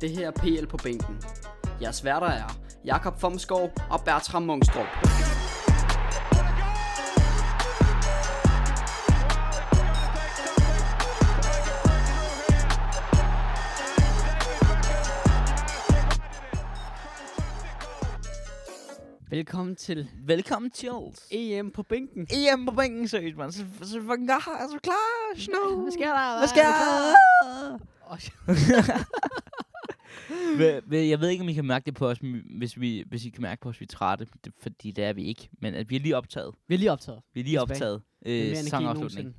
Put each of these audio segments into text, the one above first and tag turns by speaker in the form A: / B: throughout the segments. A: Det her er PL på bænken. Jeres værter er Jakob Fomskov og Bertram Mungstrup. Velkommen til
B: Velkommen til Charles.
A: EM E på bænken.
B: EM på bænken, seriøst, mand. Så, så fucking klar, så klar, snow.
A: Hvad sker der?
B: Hvad sker
A: der? Åh,
B: Hva- hva- Jeg ved ikke, om I kan mærke det på os, men hvis, vi, hvis I kan mærke på os, vi er trætte. Det, fordi det er vi ikke. Men at vi er lige optaget.
A: Vi er lige optaget.
B: Vi er lige
A: Tilbage.
B: optaget.
A: Det er
B: Øh,
A: mere energi end nogensinde.
B: sæsonafslutning.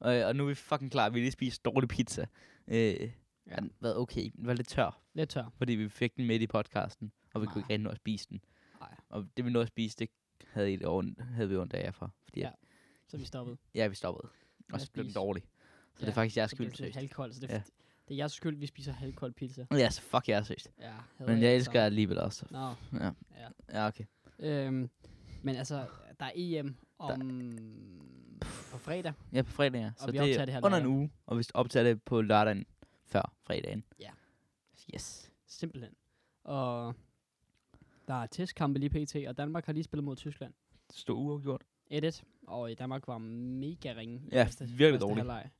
B: Og, og nu er vi fucking klar. Vi har lige spist dårlig pizza. Øh, ja. Den var okay. Den var lidt tør,
A: Lidt tør.
B: fordi vi fik den midt i podcasten. Og vi
A: Nej.
B: kunne ikke rigtig nå at spise den.
A: Nej.
B: Og det vi nåede at spise, det havde, I det ondt, havde vi ondt af jer for. Fordi
A: Ja.
B: ja.
A: Så er vi stoppede.
B: ja, vi stoppede.
A: at
B: Og så blev den
A: spise.
B: dårlig. Så ja, det
A: Ja,
B: er faktisk jeres
A: Så blev
B: skyld,
A: det sådan
B: seriøst.
A: halvkold, så det er,
B: Ja.
A: f- det er jeres skyld, vi spiser halvkold pizza.
B: Ja, så fuck jer, seriøst.
A: Ja, hader
B: Men jeg
A: det
B: elsker jer
A: samme.
B: alligevel også.
A: Nå,
B: Ja.
A: Ja.
B: Ja, okay.
A: øhm, men altså, der er EM om... På fredag.
B: Ja, på fredag, ja.
A: Og
B: Så
A: vi
B: det er
A: optager det her
B: under en
A: lørdag.
B: uge, og vi optager det på lørdagen før fredagen.
A: Ja.
B: Yes.
A: Simpelthen. Og der er testkampe lige pt, og Danmark har lige spillet mod Tyskland.
B: Det stod uafgjort.
A: 1-1, og i Danmark var mega ringe. i
B: Ja,
A: første-
B: virkelig
A: første
B: dårlig.
A: halvleg.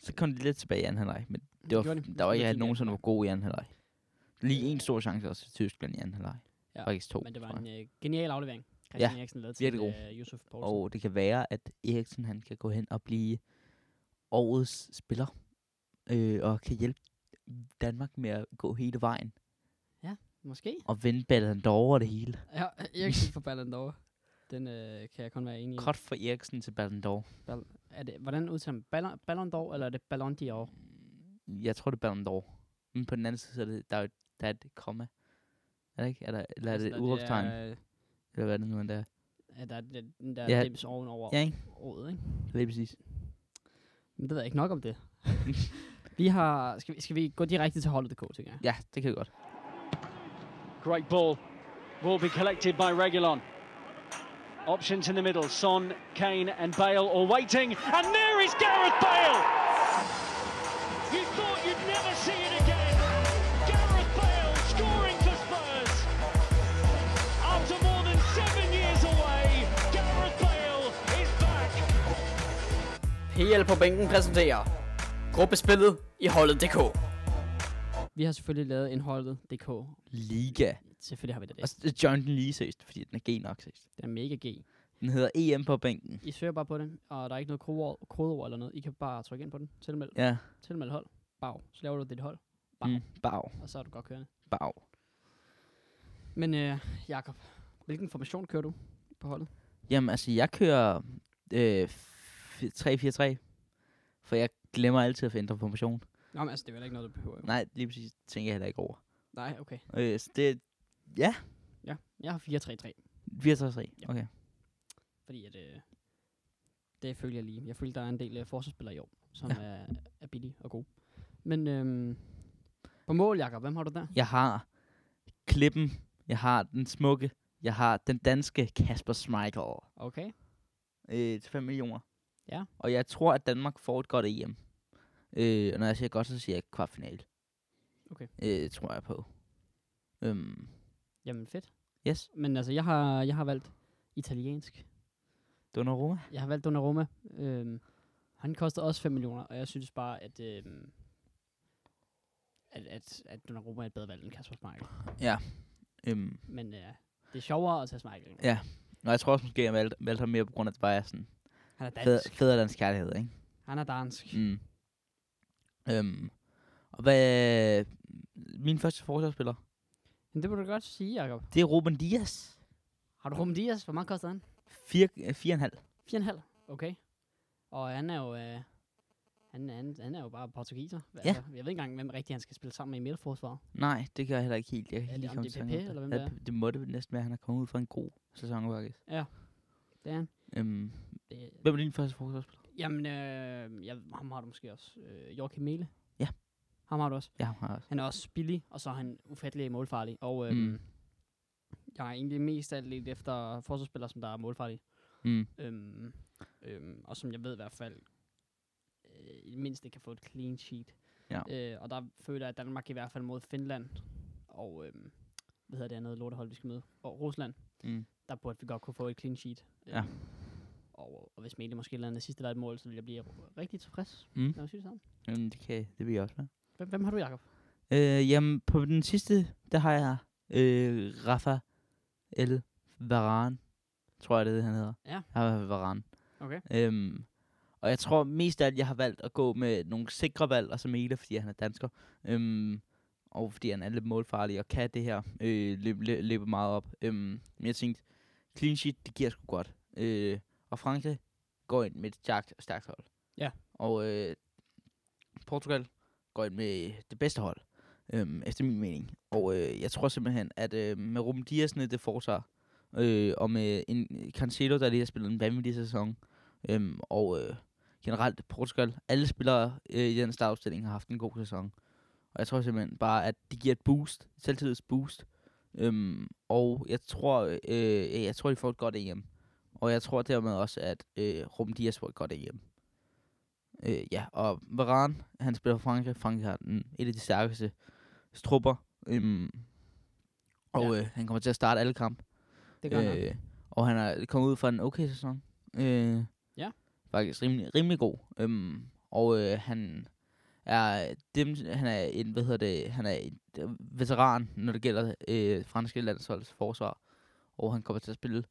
B: Så kom de lidt tilbage i anden halvleg, men det var,
A: gjorde
B: der var ikke
A: spillede
B: rigtig nogen,
A: fint
B: som
A: af
B: var god i anden halvleg. Lige en stor chance også til Tyskland i anden halvleg.
A: Ja,
B: Ja, Faktisk to,
A: Men det var
B: tror
A: en
B: jeg.
A: øh, genial aflevering. Christian ja, Eriksen lavede til
B: virkelig god.
A: øh, Yusuf Poulsen.
B: Og det kan være, at Eriksen han kan gå hen og blive årets spiller, øh, og kan hjælpe Danmark med at gå hele vejen,
A: Måske.
B: og vinde Ballon d'Or og det hele.
A: Ja, Eriksen for Ballon d'Or. Den øh, kan jeg kun være enig i.
B: Kort for Eriksen til Ballon d'Or.
A: Er det, hvordan udtaler man Ballon, Ballon d'Or, eller er det Ballon d'Or? Altså,
B: Mm, Jeg tror, det er Ballon d'Or. Men på den anden side, så er det, der, er, jo- der er et komma. Er det ikke? Er der, eller er det et udråbstegn?
A: Altså, Er,
B: Eller hvad er det nu end der?
A: er der, den- den der ja.
B: Ja.
A: dims ovenover
B: Ja,
A: ja.
B: ikke?
A: året, ikke?
B: Lige præcis.
A: Men det ved jeg ikke nok om det. vi har, skal, vi, skal vi gå direkte til holdet.dk, tænker jeg?
B: Ja, det kan vi godt.
C: Great ball. Will be collected by Regulon. Options in the middle. Son, Kane, and Bale all waiting. And there is Gareth Bale! You thought you'd never see it again. Gareth Bale scoring for Spurs. After more than seven years away, Gareth Bale is back.
D: PL på bænken præsenterer gruppespillet i holdet.dk.
A: Vi har selvfølgelig lavet en holdet.dk.
B: Liga.
A: Selvfølgelig har vi det.
B: Og så er det Jonathan Lee seriøst, fordi den er G nok seriøst.
A: Den er mega G.
B: Den hedder EM på bænken.
A: I søger bare på den, og der er ikke noget kodeord, kodeord eller noget. I kan bare trykke ind på den. Tilmeld,
B: Ja.
A: tilmeld hold. Bag. Så laver du dit hold, Bag.
B: Mm. Bag.
A: og så er du godt kørende.
B: Bag.
A: Men øh, Jakob, hvilken formation kører du på holdet?
B: Jamen, altså, jeg kører øh, f- 3-4-3. For jeg glemmer altid at få ændret formation.
A: Nå, men altså, det er jo heller ikke noget, du behøver. Jo.
B: Nej, lige præcis tænker jeg heller ikke over.
A: Nej, okay.
B: Øh, så det er
A: Ja, jeg har 4-3-3.
B: 4-3-3. Okay.
A: Fordi at, øh, det følger jeg lige. Jeg føler, der er en del øh, forsvarsspillere i år, som ja.
B: Ja.
A: er, er billige og gode. Men øhm, på mål, Jakob, hvem har du der?
B: Jeg har klippen. Jeg har den smukke. Jeg har den danske Kasper Schmeichel.
A: Okay.
B: Øh, til 5 millioner.
A: Ja.
B: Og jeg tror, at Danmark får et godt EM. Øh, og når jeg siger godt, så siger jeg kvartfinale.
A: Okay.
B: Øh, tror jeg på. Øhm,
A: Jamen fedt.
B: yes.
A: Men altså, jeg har, jeg har valgt italiensk.
B: Donnarumma.
A: Jeg har valgt Donnarumma. Øhm, han koster også 5 millioner, og jeg synes bare, at, øhm, at, at, at Donnarumma er et bedre valg end Kasper Schmeichel.
B: Øhm,
A: Men øh, det er sjovere at tage Schmeichel.
B: Ja. og jeg tror også måske, at jeg valgte, valgte ham mere på grund af, at det bare er sådan
A: Han er dansk.
B: fed, federe dansk kærlighed, ikke?
A: Han er dansk.
B: Mm. Øhm, og hvad... Min første forsvarsspiller,
A: Men det må du godt sige, Jacob.
B: det er Ruben Dias.
A: Har du Ruben Dias? Hvor meget koster han?
B: 4,5.
A: 4,5. Okay. Og han er jo... Øh, han Han, han, han er jo bare portugiser. Ja.
B: Ja.
A: Altså, jeg ved ikke engang, hvem rigtig han skal spille sammen med i midterforsvaret.
B: Nej, det kan jeg heller ikke helt. Jeg kan
A: Er
B: ikke
A: det-
B: lige
A: om
B: komme
A: det er
B: til
A: Pepe,
B: tanke om
A: eller
B: det.
A: hvem
B: Ja,
A: det er?
B: Det må det næsten være, at han er kommet ud fra en god sæson, faktisk.
A: Det er han.
B: Øhm,
A: Det,
B: hvem er din første forsvarsspiller?
A: jamen, øh, jeg, ham har du måske også. Øh, Jorke Mele.
B: Ja.
A: Ham har du også.
B: Jeg har også.
A: Han er også billig, og så er han ufattelig målfarlig. Og øh, mm.
B: Mm.
A: jeg er egentlig mest alt lidt efter forsvarsspillere, som der er målfarlige.
B: Mm.
A: Øhm, øhm, og som jeg ved i hvert fald, øh, i det mindste kan få et clean sheet.
B: Ja.
A: Øh, og der føler jeg, at Danmark i hvert fald mod Finland og, øhm, hvad hedder det andet lortehold, vi skal møde, og Rusland,
B: Mm.
A: der burde vi godt kunne få et clean sheet.
B: Ja.
A: Øhm, Og, og hvis Mele måske lander sidste der et mål, så vil jeg blive rigtig tilfreds.
B: Mm.
A: Lad os sige det sammen.
B: Jamen, det, kan, det vil jeg også være.
A: Hvem, hvem har du, Jacob?
B: Øh, jamen, på den sidste, der har jeg øh, Rafa El Varan, tror jeg, det er det, han hedder.
A: Ja.
B: Rafa Varan.
A: Okay.
B: Øhm, og jeg tror mest af alt, jeg har valgt at gå med nogle sikre valg, og så Mele, fordi han er dansker. Øhm, og fordi han er lidt målfarlig og kan det her øh, løbe, løbe, løbe meget op. Øhm, men jeg tænkte, clean sheet, det giver sgu godt. Øh, og Frankrig går ind med et stærkt, stærkt hold.
A: Ja.
B: Og øh, Portugal går ind med det bedste hold, øhm, efter min mening. Og øh, jeg tror simpelthen, at øh, med Ruben Dias nede i det forsvar, øh, og med en Cancelo, der lige har spillet en vanvittig sæson, øhm, og øh, generelt Portugal, alle spillere øh, i den startopstilling har haft en god sæson. Og jeg tror simpelthen bare, at det giver et boost, et selvtillidsboost. Øhm, og jeg tror, øh, jeg tror, de får et godt EM. Og jeg tror dermed også, at øh, Ruben Dias får et godt EM. Øh, ja, og Varane, han spiller for Frankrig. Frankrig har den, et af de stærkeste strupper. Øhm, og
A: Ja.
B: ja. øh, han kommer til at starte alle kampe.
A: Det gør øh, nok.
B: Øh, og han er kommet ud fra en okay sæson. Øh,
A: Ja.
B: Faktisk rimelig, rimelig god. Øhm, og øh, han er dem, han er en, hvad hedder det, han er en øh, veteran, når det gælder øh, franske landsholds forsvar. Og han kommer til at spille,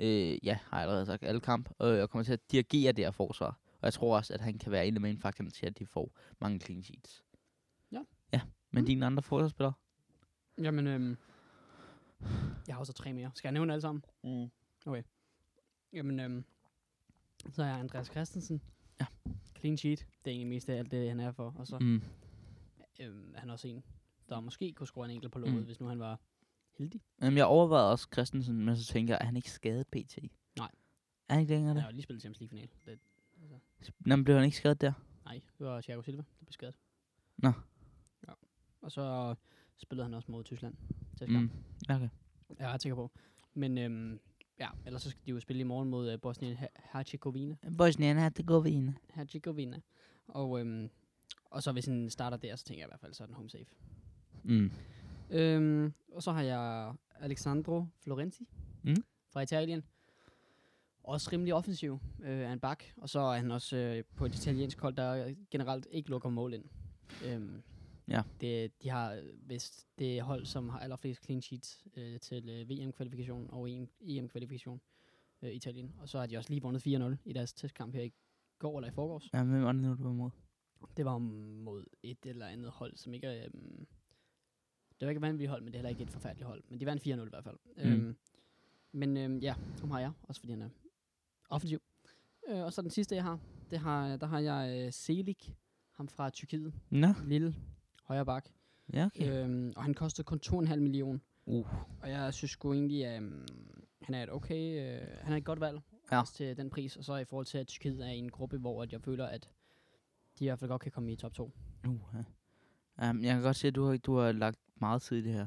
B: øh, ja, har jeg allerede sagt, alle kamp, øh, og kommer til at dirigere det her forsvar. Og jeg tror også, at han kan være en af mainfaktorerne til, at de får mange clean sheets.
A: Ja.
B: Ja, men mm. dine andre forsvarsspillere?
A: Jamen, øhm, jeg har også tre mere. Skal jeg nævne alle sammen?
B: Mm.
A: Jamen, øhm, så er jeg Andreas Christensen.
B: Ja.
A: Clean sheet. Det er egentlig mest af alt det, han er for. Og så
B: Mm.
A: øhm, er han også en, der måske kunne score en enkelt på låget, mm.
B: Mm.
A: hvis nu han var heldig.
B: Jamen, jeg overvejede også Christensen, men så tænker jeg, er han ikke skadet pt?
A: Nej.
B: Er han ikke længere
A: Han
B: det?
A: har jo lige spillet Champions League-final. Det,
B: Nå, men blev han ikke skadet der?
A: nej, det var Thiago Silva, der blev skadet.
B: Nå.
A: Ja. Og så spillede han også mod Tyskland. Til mm.
B: Mm. Okay.
A: Jeg er ret sikker på. Men øhm, ja, ellers så skal de jo spille i morgen mod øh, Bosnien Herzegovina.
B: Mm. Bosnien er det går vi ind.
A: Herzegovina. Og, øhm, og så hvis den starter der, så tænker jeg i hvert fald, så er den home safe.
B: Mm.
A: Øhm, og så har jeg Alexandro Florenzi
B: Mm.
A: fra Italien. Også rimelig offensiv øh, er en bak, og så er han også øh, på et italiensk hold, der generelt ikke lukker mål ind. Øhm,
B: Ja.
A: det, de har øh, vist det hold, som har allerflest clean sheets øh, til øh, VM-kvalifikation og E EM EM-kvalifikation øh, Italien. Og så har de også lige vundet 4-0 i deres testkamp her i går eller i forgårs.
B: Ja, hvem var det nu, du var mod?
A: Det var mod et eller andet hold, som ikke er... Øhm, det var ikke et vanvittigt hold, men det er heller ikke et forfærdeligt hold. Men de vandt 4-0 i hvert fald. Mm. Øhm, men øhm, ja, ham har jeg, også fordi han er offensiv. Øh, og så den sidste, jeg har, det har der har jeg øh, Selik, ham fra Tyrkiet.
B: Nå,
A: Lille, højre bak.
B: ja, okay.
A: Okay. Øhm, og han kostede kun 2,5 million.
B: Uh.
A: Og jeg synes sgu egentlig, at øhm, han er et okay, øh, han er et godt valg
B: Ja.
A: også til den pris. Og så i forhold til, at Tyrkiet er i en gruppe, hvor at jeg føler, at de i hvert fald godt kan komme i top 2.
B: Uh, ja. Um, jeg kan godt se, at du har, du har lagt meget tid i det her.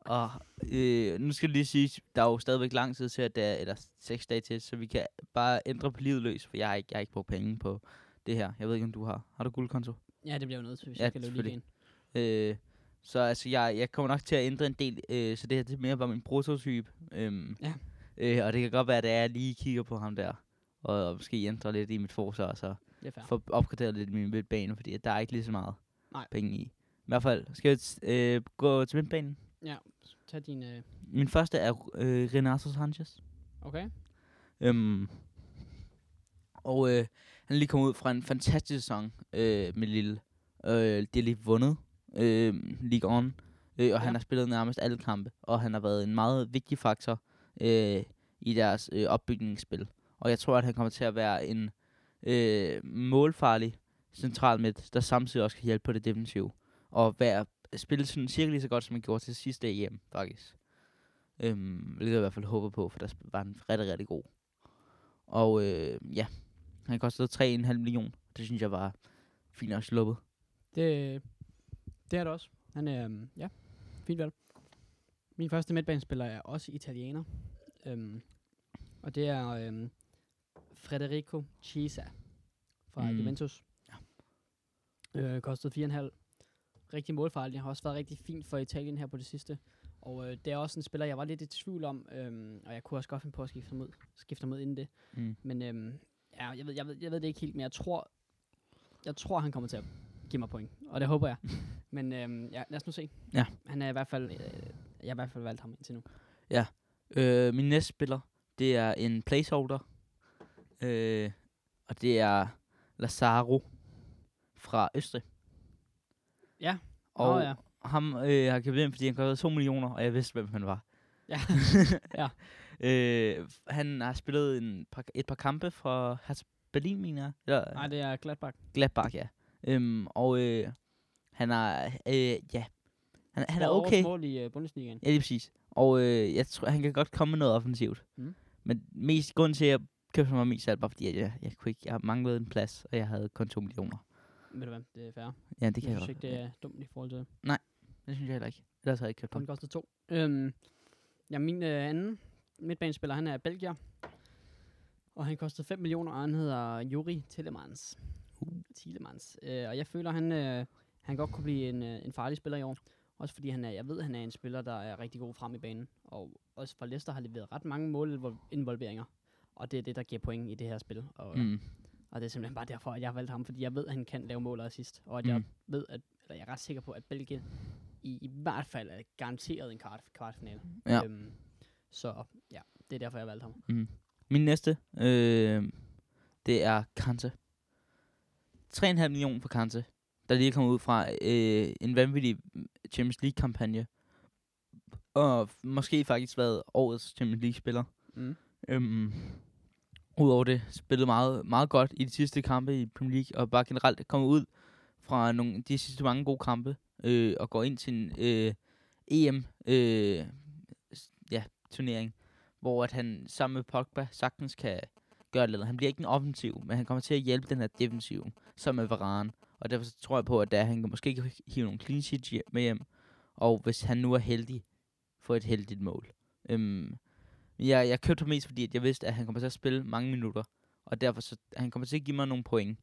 B: og øh, nu skal det lige sige, der er jo stadigvæk lang tid til, at der er eller 6 dage til, så vi kan bare ændre på livet løs, for jeg har ikke, jeg har ikke brugt penge på det her. Jeg ved ikke, om du har. Har du guldkonto?
A: Ja, det bliver jo nødt til, hvis
B: Ja,
A: ja, jeg skal løbe lige
B: selvfølgelig.
A: ind.
B: Øh, så altså, jeg, jeg kommer nok til at ændre en del, øh, så det her det er mere bare min prototype. Øhm,
A: Ja.
B: Øh, og det kan godt være, at jeg lige kigger på ham der, og, og måske ændrer lidt i mit forsvar, så
A: Det er fair.
B: ja. får opgraderet lidt min midtbane, fordi at der er ikke lige så meget
A: Nej.
B: penge i. I hvert fald, skal jeg t- øh, gå til midtbanen?
A: Ja, så tag din... Øh,
B: Min første er øh, Renato Sanchez.
A: okay.
B: Øhm, og øh, han er lige kommet ud fra en fantastisk sæson øh, med Lille. Øh, de har lige vundet øh, League On, øh, og ja.
A: Ja.
B: han har spillet nærmest alle kampe, og han har været en meget vigtig faktor øh, i deres øh, opbygningsspil. Og jeg tror, at han kommer til at være en øh, målfarlig central midt, der samtidig også kan hjælpe på det defensive. Og være, spille sådan cirka lige så godt, som man gjorde til sidste EM, faktisk. Øhm, hvilket jeg i hvert fald håber på, for der sp- var han rigtig, rigtig god. Og øh, ja, han kostede 3,5 million. Det synes jeg var fint nok sluppet.
A: Det, det er det også. Han er, øhm, ja, fint valg. Min første midtbanespiller er også italiener. Øhm, og det er øhm, Federico Chiesa fra
B: Mm.
A: mm. Juventus. Ja. Øh, kostede 4,5. Rigtig målfarlig. Har også været rigtig fint for Italien her på det sidste. Og øh, det er også en spiller, jeg var lidt i tvivl om, øhm, og jeg kunne også godt finde på at skifte ham ud, skifte ham ud inden det.
B: Mm.
A: Men øhm, ja, jeg, ved, jeg, ved, jeg ved det ikke helt, men jeg tror, jeg tror han kommer til at give mig point. Og det håber jeg. men øhm, ja, lad os nu se.
B: Ja.
A: Han er i hvert fald, øh, jeg har i hvert fald valgt ham indtil nu.
B: Øh, min næste spiller, det er en placeholder. Øh, og det er Lazaro fra Østrig.
A: Ja.
B: Og
A: Nå, ja.
B: ham øh, har købt ind, fordi han kostede 2 millioner, og jeg vidste, hvem han var.
A: Ja. Ja.
B: øh, han har spillet en par, et par kampe fra Hertha Berlin, mener jeg. Eller,
A: Nej, det er Gladbach.
B: Gladbach, ja. Øhm, og øh, han er, øh, ja, han, han er
A: Scorede årets
B: okay.
A: mål i øh, Bundesligaen.
B: Ja, lige præcis. Og øh, jeg tror, han kan godt komme med noget offensivt.
A: Mm.
B: Mm. Men mest grund til, at jeg købte ham var mest alt, bare fordi, at jeg, jeg, kunne ikke, jeg manglede en plads, og jeg havde kun 2 millioner.
A: Ved du hvad, det er fair.
B: Ja, det kan
A: jeg synes
B: jeg, godt.
A: ikke, det er dumt i forhold til
B: det synes jeg heller ikke. Ellers havde jeg ikke købt ham.
A: Han kostede to. Øhm, ja, min øh, anden midtbanespiller, han er belgier. Og han kostede 5 millioner, og han hedder Juri Tillemans. Uh. Tillemans. Øh, og jeg føler, han, øh, han godt kunne blive en, øh, en farlig spiller i år. Også fordi han er, jeg ved, han er en spiller, der er rigtig god frem i banen. Og også for Leicester har leveret ret mange målinvolveringer. Og det er det, der giver point i det her spil. Og,
B: Mm.
A: og det er simpelthen bare derfor, at jeg har valgt ham, fordi jeg ved, at han kan lave mål og assist. Og at mm. jeg
B: Mm.
A: ved, at, eller jeg er ret sikker på, at Belgien i, i hvert fald er garanteret en kvart, kvartfinale.
B: Mm. Ja.
A: Øhm, så ja, det er derfor, jeg valgte ham.
B: Min næste, øh, det er Kante. 3,5 millioner for Kante, der lige er kommet ud fra øh, en vanvittig Champions League-kampagne. Og f- måske faktisk været årets Champions League-spiller.
A: Mm.
B: Øhm, Udover det, spillede meget, meget godt i de sidste kampe i Premier League, og bare generelt kommet ud fra nogle, de sidste mange gode kampe, øh, og går ind til en øh, EM øh, s- ja, turnering, hvor at han sammen med Pogba sagtens kan gøre et eller andet. Han bliver ikke en offensiv, men han kommer til at hjælpe den her defensiv, som er Varane. Og derfor så tror jeg på, at der, han kan måske kan hive nogle clean sheets hjem- med hjem, og hvis han nu er heldig, få et heldigt mål. Øhm, men jeg, jeg købte ham mest, fordi at jeg vidste, at han kommer til at spille mange minutter. Og derfor så, han kommer til at give mig nogle point.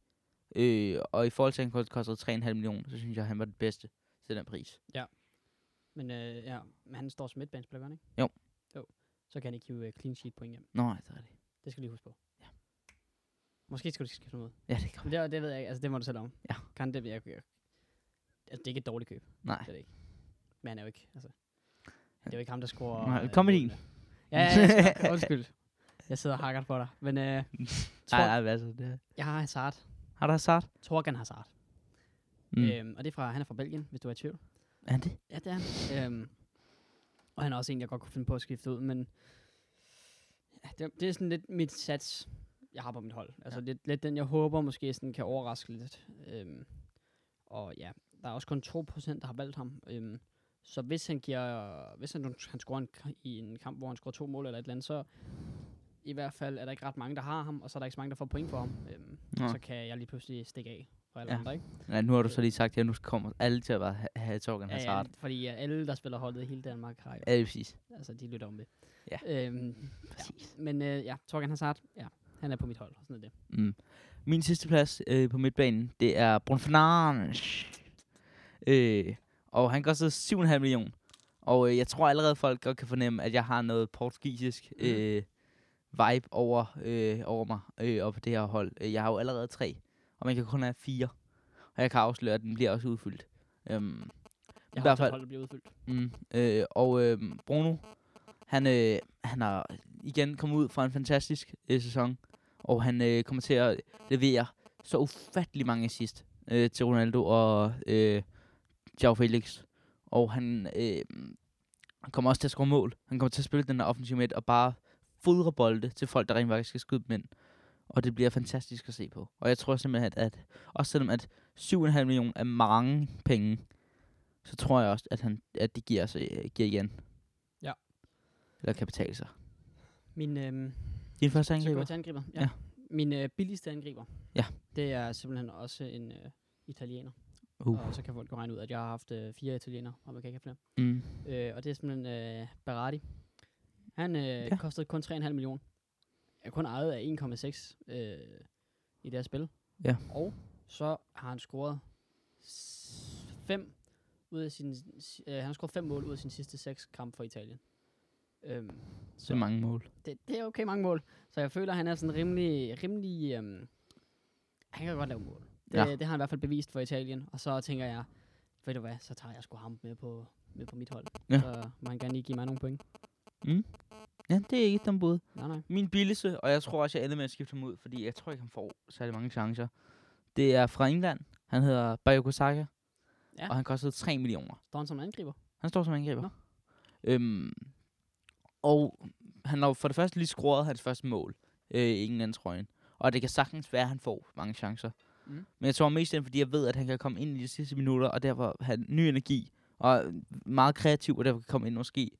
B: Øh, og i forhold til, at han kun kostede 3,5 millioner, så synes jeg, at han var det bedste til den pris.
A: Men øh, ja, men han står som midtbanespiller, gør han ikke?
B: Jo.
A: Jo. Så kan han ikke hive øh, clean sheet point hjem.
B: Nå, det er det.
A: Det skal du lige huske på. Ja. Måske skal du skifte ham ud.
B: Ja, det kan
A: Men det, det ved jeg ikke. Altså, det må du selv om.
B: Ja.
A: Kan det, jeg, jeg, altså, det er ikke et dårligt køb.
B: Nej.
A: Det er det ikke. Men han er jo ikke, altså. Det er jo ikke ham, der scorer.
B: Nej,
A: øh,
B: kom med din.
A: målene. Ja, ja, ja, ja, undskyld. Jeg sidder og hakker på dig. Men øh, tror,
B: Nej, nej, hvad så? Det er.
A: jeg har Hazard.
B: Har du Hazard?
A: Torgan Hazard.
B: Mm.
A: Mm.
B: Øh.
A: Øhm, og det er fra, han er fra Belgien, hvis du er i tvivl.
B: Er han det?
A: Ja, det er han. øhm, og han er også en, jeg godt kunne finde på at skifte ud, men ja, det, det er sådan lidt mit sats, jeg har på mit hold. Altså ja. lidt, lidt den, jeg håber måske sådan kan overraske lidt. Øhm, og ja, der er også kun 2%, der har valgt ham. Øhm, så hvis han giver, hvis han, han scorer en, k- i en kamp, hvor han scorer to mål eller et eller andet, så i hvert fald er der ikke ret mange, der har ham, og så er der ikke så mange, der får point for ham. Øhm,
B: Nå.
A: så kan jeg lige pludselig stikke af for alle
B: Ja.
A: ja. andre, ikke?
B: Nej, nu har du så lige sagt, at nu kommer alle til at bare ha- have Torgan
A: Ja,
B: Hazard.
A: ja, fordi øh, alle, der spiller holdet i hele Danmark, har jo
B: Ja, det er præcis.
A: Altså, de lytter om det.
B: Ja.
A: Øhm, Præcis. Ja. Men øh, ja, Torgan Hazard, ja, han er på mit hold. og Sådan er det.
B: Mm. Min sidste plads øh, på midtbanen, det er Bruno Fernandes. Øh, og han kostede 7,5 millioner. Og øh, jeg tror allerede, folk godt kan fornemme, at jeg har noget portugisisk
A: Mm.
B: øh, vibe over, øh, over mig øh, og på det her hold. Øh, Jeg har jo allerede tre, og man kan kun have fire. Og jeg kan afsløre, at den bliver også udfyldt. Øhm,
A: Jeg
B: hvert
A: har også
B: fald-
A: hold, der bliver udfyldt.
B: Mm. Øh, og øh, Bruno, han, øh, han har igen kommet ud fra en fantastisk øh, sæson, og han øh, kommer til at levere så ufattelig mange assist øh, til Ronaldo og øh, Joao Felix. Og han øh, kommer også til at score mål. Han kommer til at spille den her offensiv midt og bare fodre bolde til folk, der rent faktisk skal skyde dem ind. Og det bliver fantastisk at se på. Og jeg tror simpelthen, at, at også selvom at 7,5 millioner er mange penge, så tror jeg også, at, han, at det giver, sig, øh, giver igen.
A: Ja.
B: Eller kan betale sig.
A: Min, øhm,
B: Din første
A: Så går
B: angriber?
A: jeg til angriber. Ja.
B: Ja.
A: ja. Min øh, billigste angriber.
B: Ja.
A: Det er simpelthen også en øh, italiener.
B: Uh.
A: Og så kan folk jo regne ud, at jeg har haft øh, fire italienere, og man kan ikke have
B: Mm.
A: flere. Øh, og det er simpelthen øh, Berardi. Han øh,
B: Ja.
A: ja. kostede kun 3,5 millioner. Er kun ejet af 1,6 øh, i deres spil.
B: Ja.
A: Og så har han scoret 5 ud af sin, øh, han har scoret fem mål ud af sine sidste seks kampe for Italien. Øhm,
B: Så mange mål.
A: det, det er okay mange mål. Så jeg føler, han er sådan rimelig... rimelig øhm, han kan godt lave mål. Det,
B: Ja.
A: ja. det har han i hvert fald bevist for Italien. Og så tænker jeg, ved du hvad, så tager jeg sgu ham med på, med på mit hold.
B: Ja.
A: Så må han gerne lige give mig nogle point.
B: Ja, det er ikke et dumt bud.
A: Nej, nej.
B: Min billigste, og jeg tror også, jeg ender med at skifte ham ud, fordi jeg tror ikke, han får særlig mange chancer. Det er fra England. Han hedder Bayoko Saka.
A: Ja.
B: Og han kostede 3 millioner.
A: Står han som angriber?
B: Han står som angriber.
A: Nå.
B: Øhm, og han har jo for det første lige scoret hans første mål øh, i Englands trøjen. Og det kan sagtens være, at han får mange chancer. Mm.
A: Mm.
B: Men jeg tror mest det er, fordi jeg ved, at han kan komme ind i de sidste minutter, og derfor have ny energi, og meget kreativ, og derfor kan komme ind og måske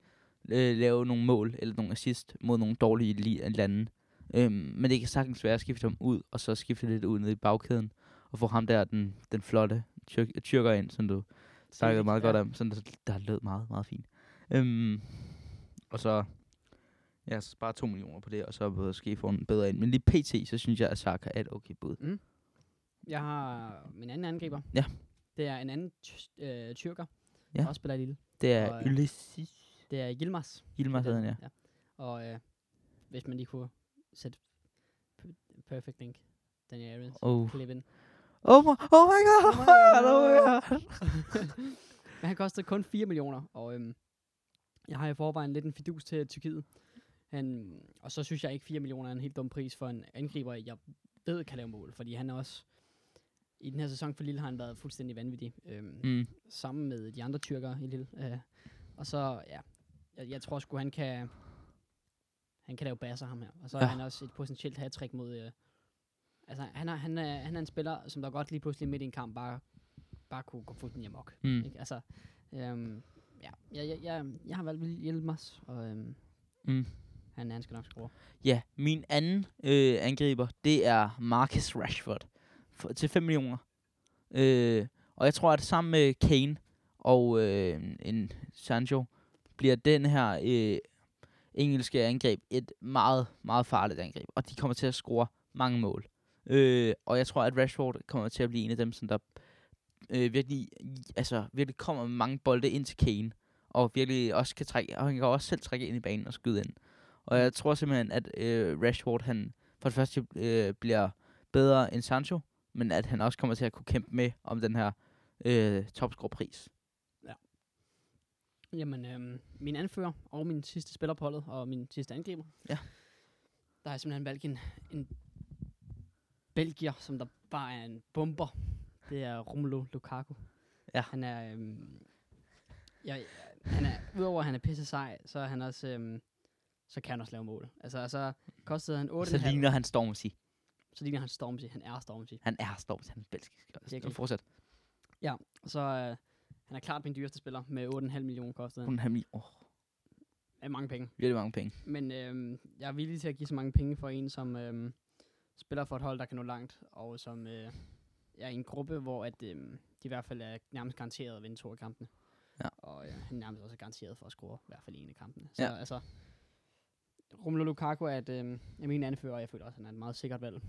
B: øh, lave nogle mål eller nogle assist mod nogle dårlige li- lande. Øhm, men det kan sagtens være at skifte ham ud, og så skifte lidt ud ned i bagkæden, og få ham der, den, den flotte tyrk- tyrker ind, som du snakkede meget godt om, sådan der, der lød meget, meget fint. Øhm, og så, ja, så bare 2 millioner på det, og så måske få en bedre ind. Men lige pt, så synes jeg, at Saka er et okay bud.
A: Jeg har min anden angriber.
B: Ja.
A: Det er en anden ty- øh, tyrker,
B: Ja.
A: ja. der også spiller i Lille.
B: Det er
A: Og,
B: og,
A: øh,
B: Ulysses
A: Det er Yilmaz.
B: Yilmaz, hedder han, ja.
A: ja. Og øh, hvis man lige kunne sætte p- Perfect Link, Daniel Arias,
B: Oh.
A: klip ind.
B: Oh my, oh my god!
A: Oh my god.
B: Oh my god.
A: Men han kostede kun 4 millioner, og øhm, jeg har i forvejen lidt en fidus til Tyrkiet. Han, og så synes jeg ikke, 4 millioner er en helt dum pris for en angriber, jeg ved kan lave mål, fordi han er også... I den her sæson for Lille har han været fuldstændig vanvittig, øhm, mm.
B: Mm.
A: sammen med de andre tyrkere i Lille. Øh, og så, ja, jeg, jeg tror sgu, han kan... Han kan lave basser, ham her. Og så ja.
B: Ja.
A: er han også et potentielt hat mod... Øh, altså, han er, han, er, han er en spiller, som der godt lige pludselig midt i en kamp bare, bare kunne gå fuldstændig amok.
B: Mm.
A: Ikke? Altså, øhm, ja, jeg, jeg, jeg, jeg har valgt Hjelmas, og øhm,
B: Mm.
A: han, han skal nok score.
B: Ja, min anden øh, angriber, det er Marcus Rashford for, til 5 millioner. Øh, og jeg tror, at sammen med Kane og øh, en Sancho, bliver den her øh, engelske angreb et meget, meget farligt angreb. Og de kommer til at score mange mål. Øh, og jeg tror, at Rashford kommer til at blive en af dem, som der øh, virkelig, altså, virkelig kommer med mange bolde ind til Kane. Og virkelig også kan trække, og han kan også selv trække ind i banen og skyde ind. Og jeg tror simpelthen, at øh, Rashford, han for det første øh, bliver bedre end Sancho, men at han også kommer til at kunne kæmpe med om den her øh, topscore-pris.
A: Jamen, øhm, min anfører og min sidste spiller på holdet, og min sidste angriber.
B: Ja.
A: Der har jeg simpelthen valgt en, en belgier, som der bare er en bomber. Det er Romelu Lukaku.
B: Ja.
A: Han er, øhm, jeg, han er, udover at han er pisse sej, så er han også, øhm, så kan han også lave mål. Altså, så kostede han 8,5,
B: Så ligner han Stormzy.
A: så ligner han Stormzy. Han er Stormzy.
B: Han er Stormzy, han er belgisk.
A: Virkelig.
B: Fortsat.
A: Så øh, han er klart min dyreste spiller med 8,5 millioner kostet.
B: Hun har min, åh,
A: Det er mange penge.
B: virkelig mange penge.
A: Men øh, jeg er villig til at give så mange penge for en, som øh, spiller for et hold, der kan nå langt, og som øh, er i en gruppe, hvor at, øh, de i hvert fald er nærmest garanteret at vinde to af kampene.
B: Ja.
A: Og øh, han er nærmest også garanteret for at score i hvert fald en af kampene. Så
B: Ja.
A: ja. altså, Romelu Lukaku er, et, øh, er min anfører, og jeg føler også, at han er et meget sikkert valg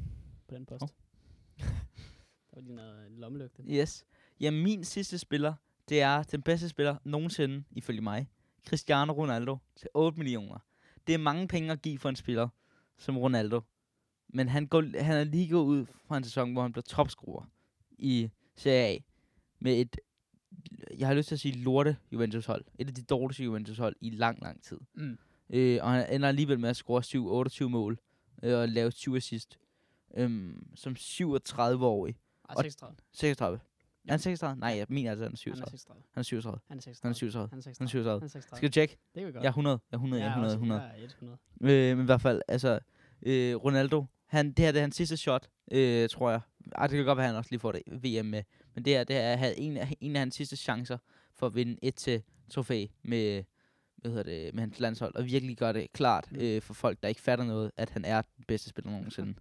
A: på den post.
B: Hov.
A: Oh. der var lige noget lommelygte.
B: Yes. Ja, min sidste spiller, det er den bedste spiller nogensinde, ifølge mig. Cristiano Ronaldo til 8 millioner. Det er mange penge at give for en spiller som Ronaldo. Men han, går, han er lige gået ud fra en sæson, hvor han blev topscorer i Serie A. Med et, jeg har lyst til at sige lorte Juventus-hold. Et af de dårligste Juventus-hold i lang, lang tid.
A: Mm.
B: Øh, og han ender alligevel med at score 7-28 mål øh, og lave 20 assist. Øhm, som 37-årig.
A: Ah,
B: Og-
A: 36.
B: 36. Er han 36? Nej, jeg mener altså, han
A: Han er
B: er 37.
A: 36.
B: Han er 37.
A: Han er
B: Han
A: 36.
B: er 37.
A: Han er 36.
B: Han er 37.
A: Han er 36.
B: Skal du tjekke?
A: Det kan vi
B: Jeg
A: godt.
B: altså, er 100. Jeg er 100. Jeg er 100. 100.
A: Ja, 100.
B: Øh, men i hvert fald, altså, øh, Ronaldo, Han, det her det er hans sidste shot, øh, tror jeg. Ej, det kan godt være, at han også lige får det VM med. Men det her det er han- en, af- en af hans sidste chancer for at vinde et til trofæ med, hvad hedder det, med hans landshold. Og virkelig gør det klart øh, for folk, der ikke fatter noget, at han er den bedste spiller nogensinde.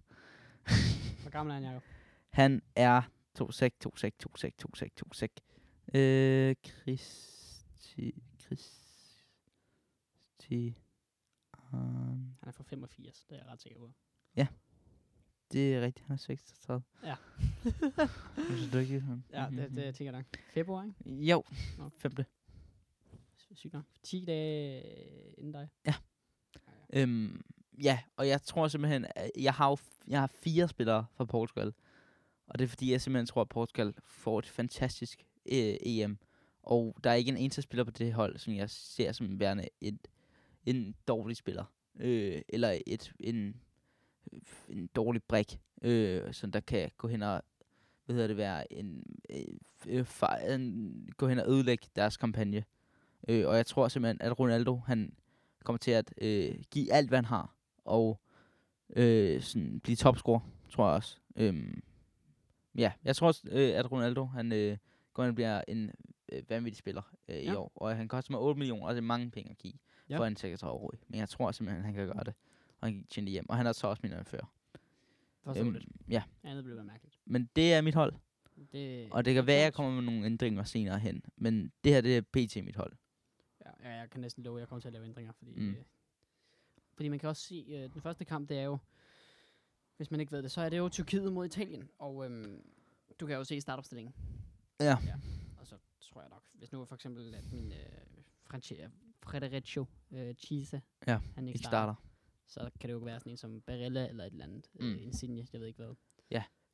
A: Hvor gammel er han, Jacob?
B: Han er 2-6, 2-6, 2-6, 2-6, 2-6. Øh, Kristi... Kristi... Um,
A: Han er fra 85, det er jeg ret sikker på.
B: det er rigtigt, han er 36.
A: Ja.
B: Synes du ikke, han-
A: Ja, det,
B: mhm.
A: det tænker jeg nok. Februar, ikke?
B: Jo,
A: Nå.
B: femte.
A: Sygt nok. 10 dage øh, inden dig.
B: Øhm, ja, og jeg tror simpelthen, at jeg har, jo f- jeg har fire spillere fra Portugal. Og det er fordi, jeg simpelthen tror, at Portugal får et fantastisk øh, EM. Og der er ikke en eneste spiller på det hold, som jeg ser som værende en, en dårlig spiller. Øh, eller et, en, en dårlig brik, øh, som der kan gå hen og hvad hedder det, være en, øh, øh, far, en, gå hen og ødelægge deres kampagne. Øh, og jeg tror simpelthen, at Ronaldo, han kommer til at øh, give alt, hvad han har, og øh, sådan blive topscorer, tror jeg også. Øhm, ja, jeg tror også, øh, at Ronaldo, han øh, går ind og bliver en øh, vanvittig spiller øh, ja. i
A: Ja.
B: år, og han koster mig 8 millioner, og det er mange penge at give
A: Ja.
B: ja. for en 36 år. Men jeg tror simpelthen, han kan gøre det, og han kan tjene det hjem, og han er så også min anfører. Øhm.
A: Forståeligt.
B: ja,
A: Andet blev være mærkeligt.
B: men det er mit hold,
A: Det,
B: og det kan være, at jeg kommer med nogle ændringer senere hen, men det her, det er pt. mit hold.
A: Ja, ja, jeg kan næsten love, at jeg kommer til at lave ændringer, fordi,
B: Mm.
A: mm. øh, fordi man kan også se, øh, den første kamp, det er jo, hvis man ikke ved det, så er det jo Tyrkiet mod Italien, og øhm, du kan jo se startopstillingen.
B: Ja.
A: ja. Og så tror jeg nok, hvis nu for eksempel, at min øh, Franche, Frederico øh, Chisa,
B: Ja,
A: han ikke
B: Ikke
A: starter,
B: starter.
A: så kan det jo være sådan en som Barella eller et eller andet, mm.
B: Mm.
A: øh, Insigne, jeg ved ikke hvad.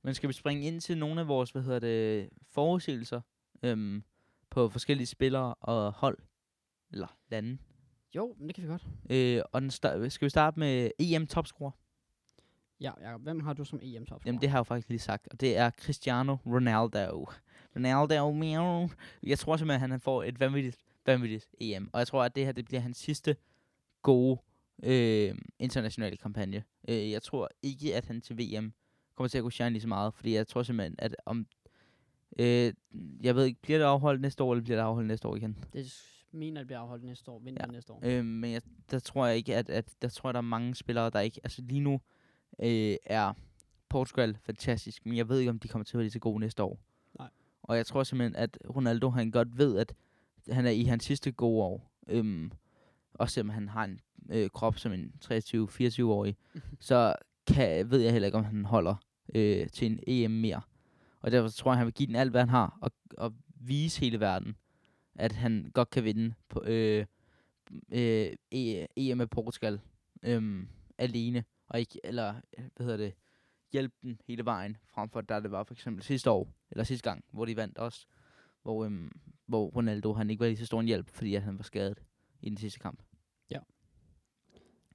B: Men skal vi springe ind til nogle af vores, hvad hedder det, forudsigelser øhm, på forskellige spillere og hold, eller lande.
A: Jo, men det kan vi godt.
B: Øh, og den sta- skal vi starte med EM topscorer?
A: Ja, Jacob, hvem har du som E em topscorer
B: Jamen det har jeg jo faktisk lige sagt, og det er Cristiano Ronaldo. Ronaldo, miau. Jeg tror simpelthen, at han får et vanvittigt, vanvittigt EM. Og jeg tror, at det her det bliver hans sidste gode øh, internationale kampagne. Øh, jeg tror ikke, at han til VM kommer til at kunne shine lige så meget, fordi jeg tror simpelthen, at om... Øh, jeg ved ikke, bliver det afholdt næste år, eller bliver det afholdt næste år igen?
A: Det s- mener, det bliver afholdt næste år, vinter ja. næste år.
B: Øh, men jeg, der tror jeg ikke, at, at der tror jeg, der er mange spillere, der ikke... Altså lige nu øh, er Portugal fantastisk, men jeg ved ikke, om de kommer til at være lige så gode næste år.
A: Nej.
B: Og jeg tror simpelthen, at Ronaldo, han godt ved, at han er i hans sidste gode år. Øhm, også selvom han har en øh, krop som en 23-24-årig, så kan, ved jeg heller ikke, om han holder øh, til en EM mere. Og derfor tror jeg, han vil give den alt, hvad han har, og, og vise hele verden, at han godt kan vinde på, øh, øh, E- EM med Portugal øhm, alene, og ikke, eller øh, hvad hedder det, hjælpe den hele vejen, frem for der det var for eksempel sidste år, eller sidste gang, hvor de vandt også, hvor, øhm, hvor Ronaldo han ikke var lige så stor en hjælp, fordi at han var skadet i den sidste kamp.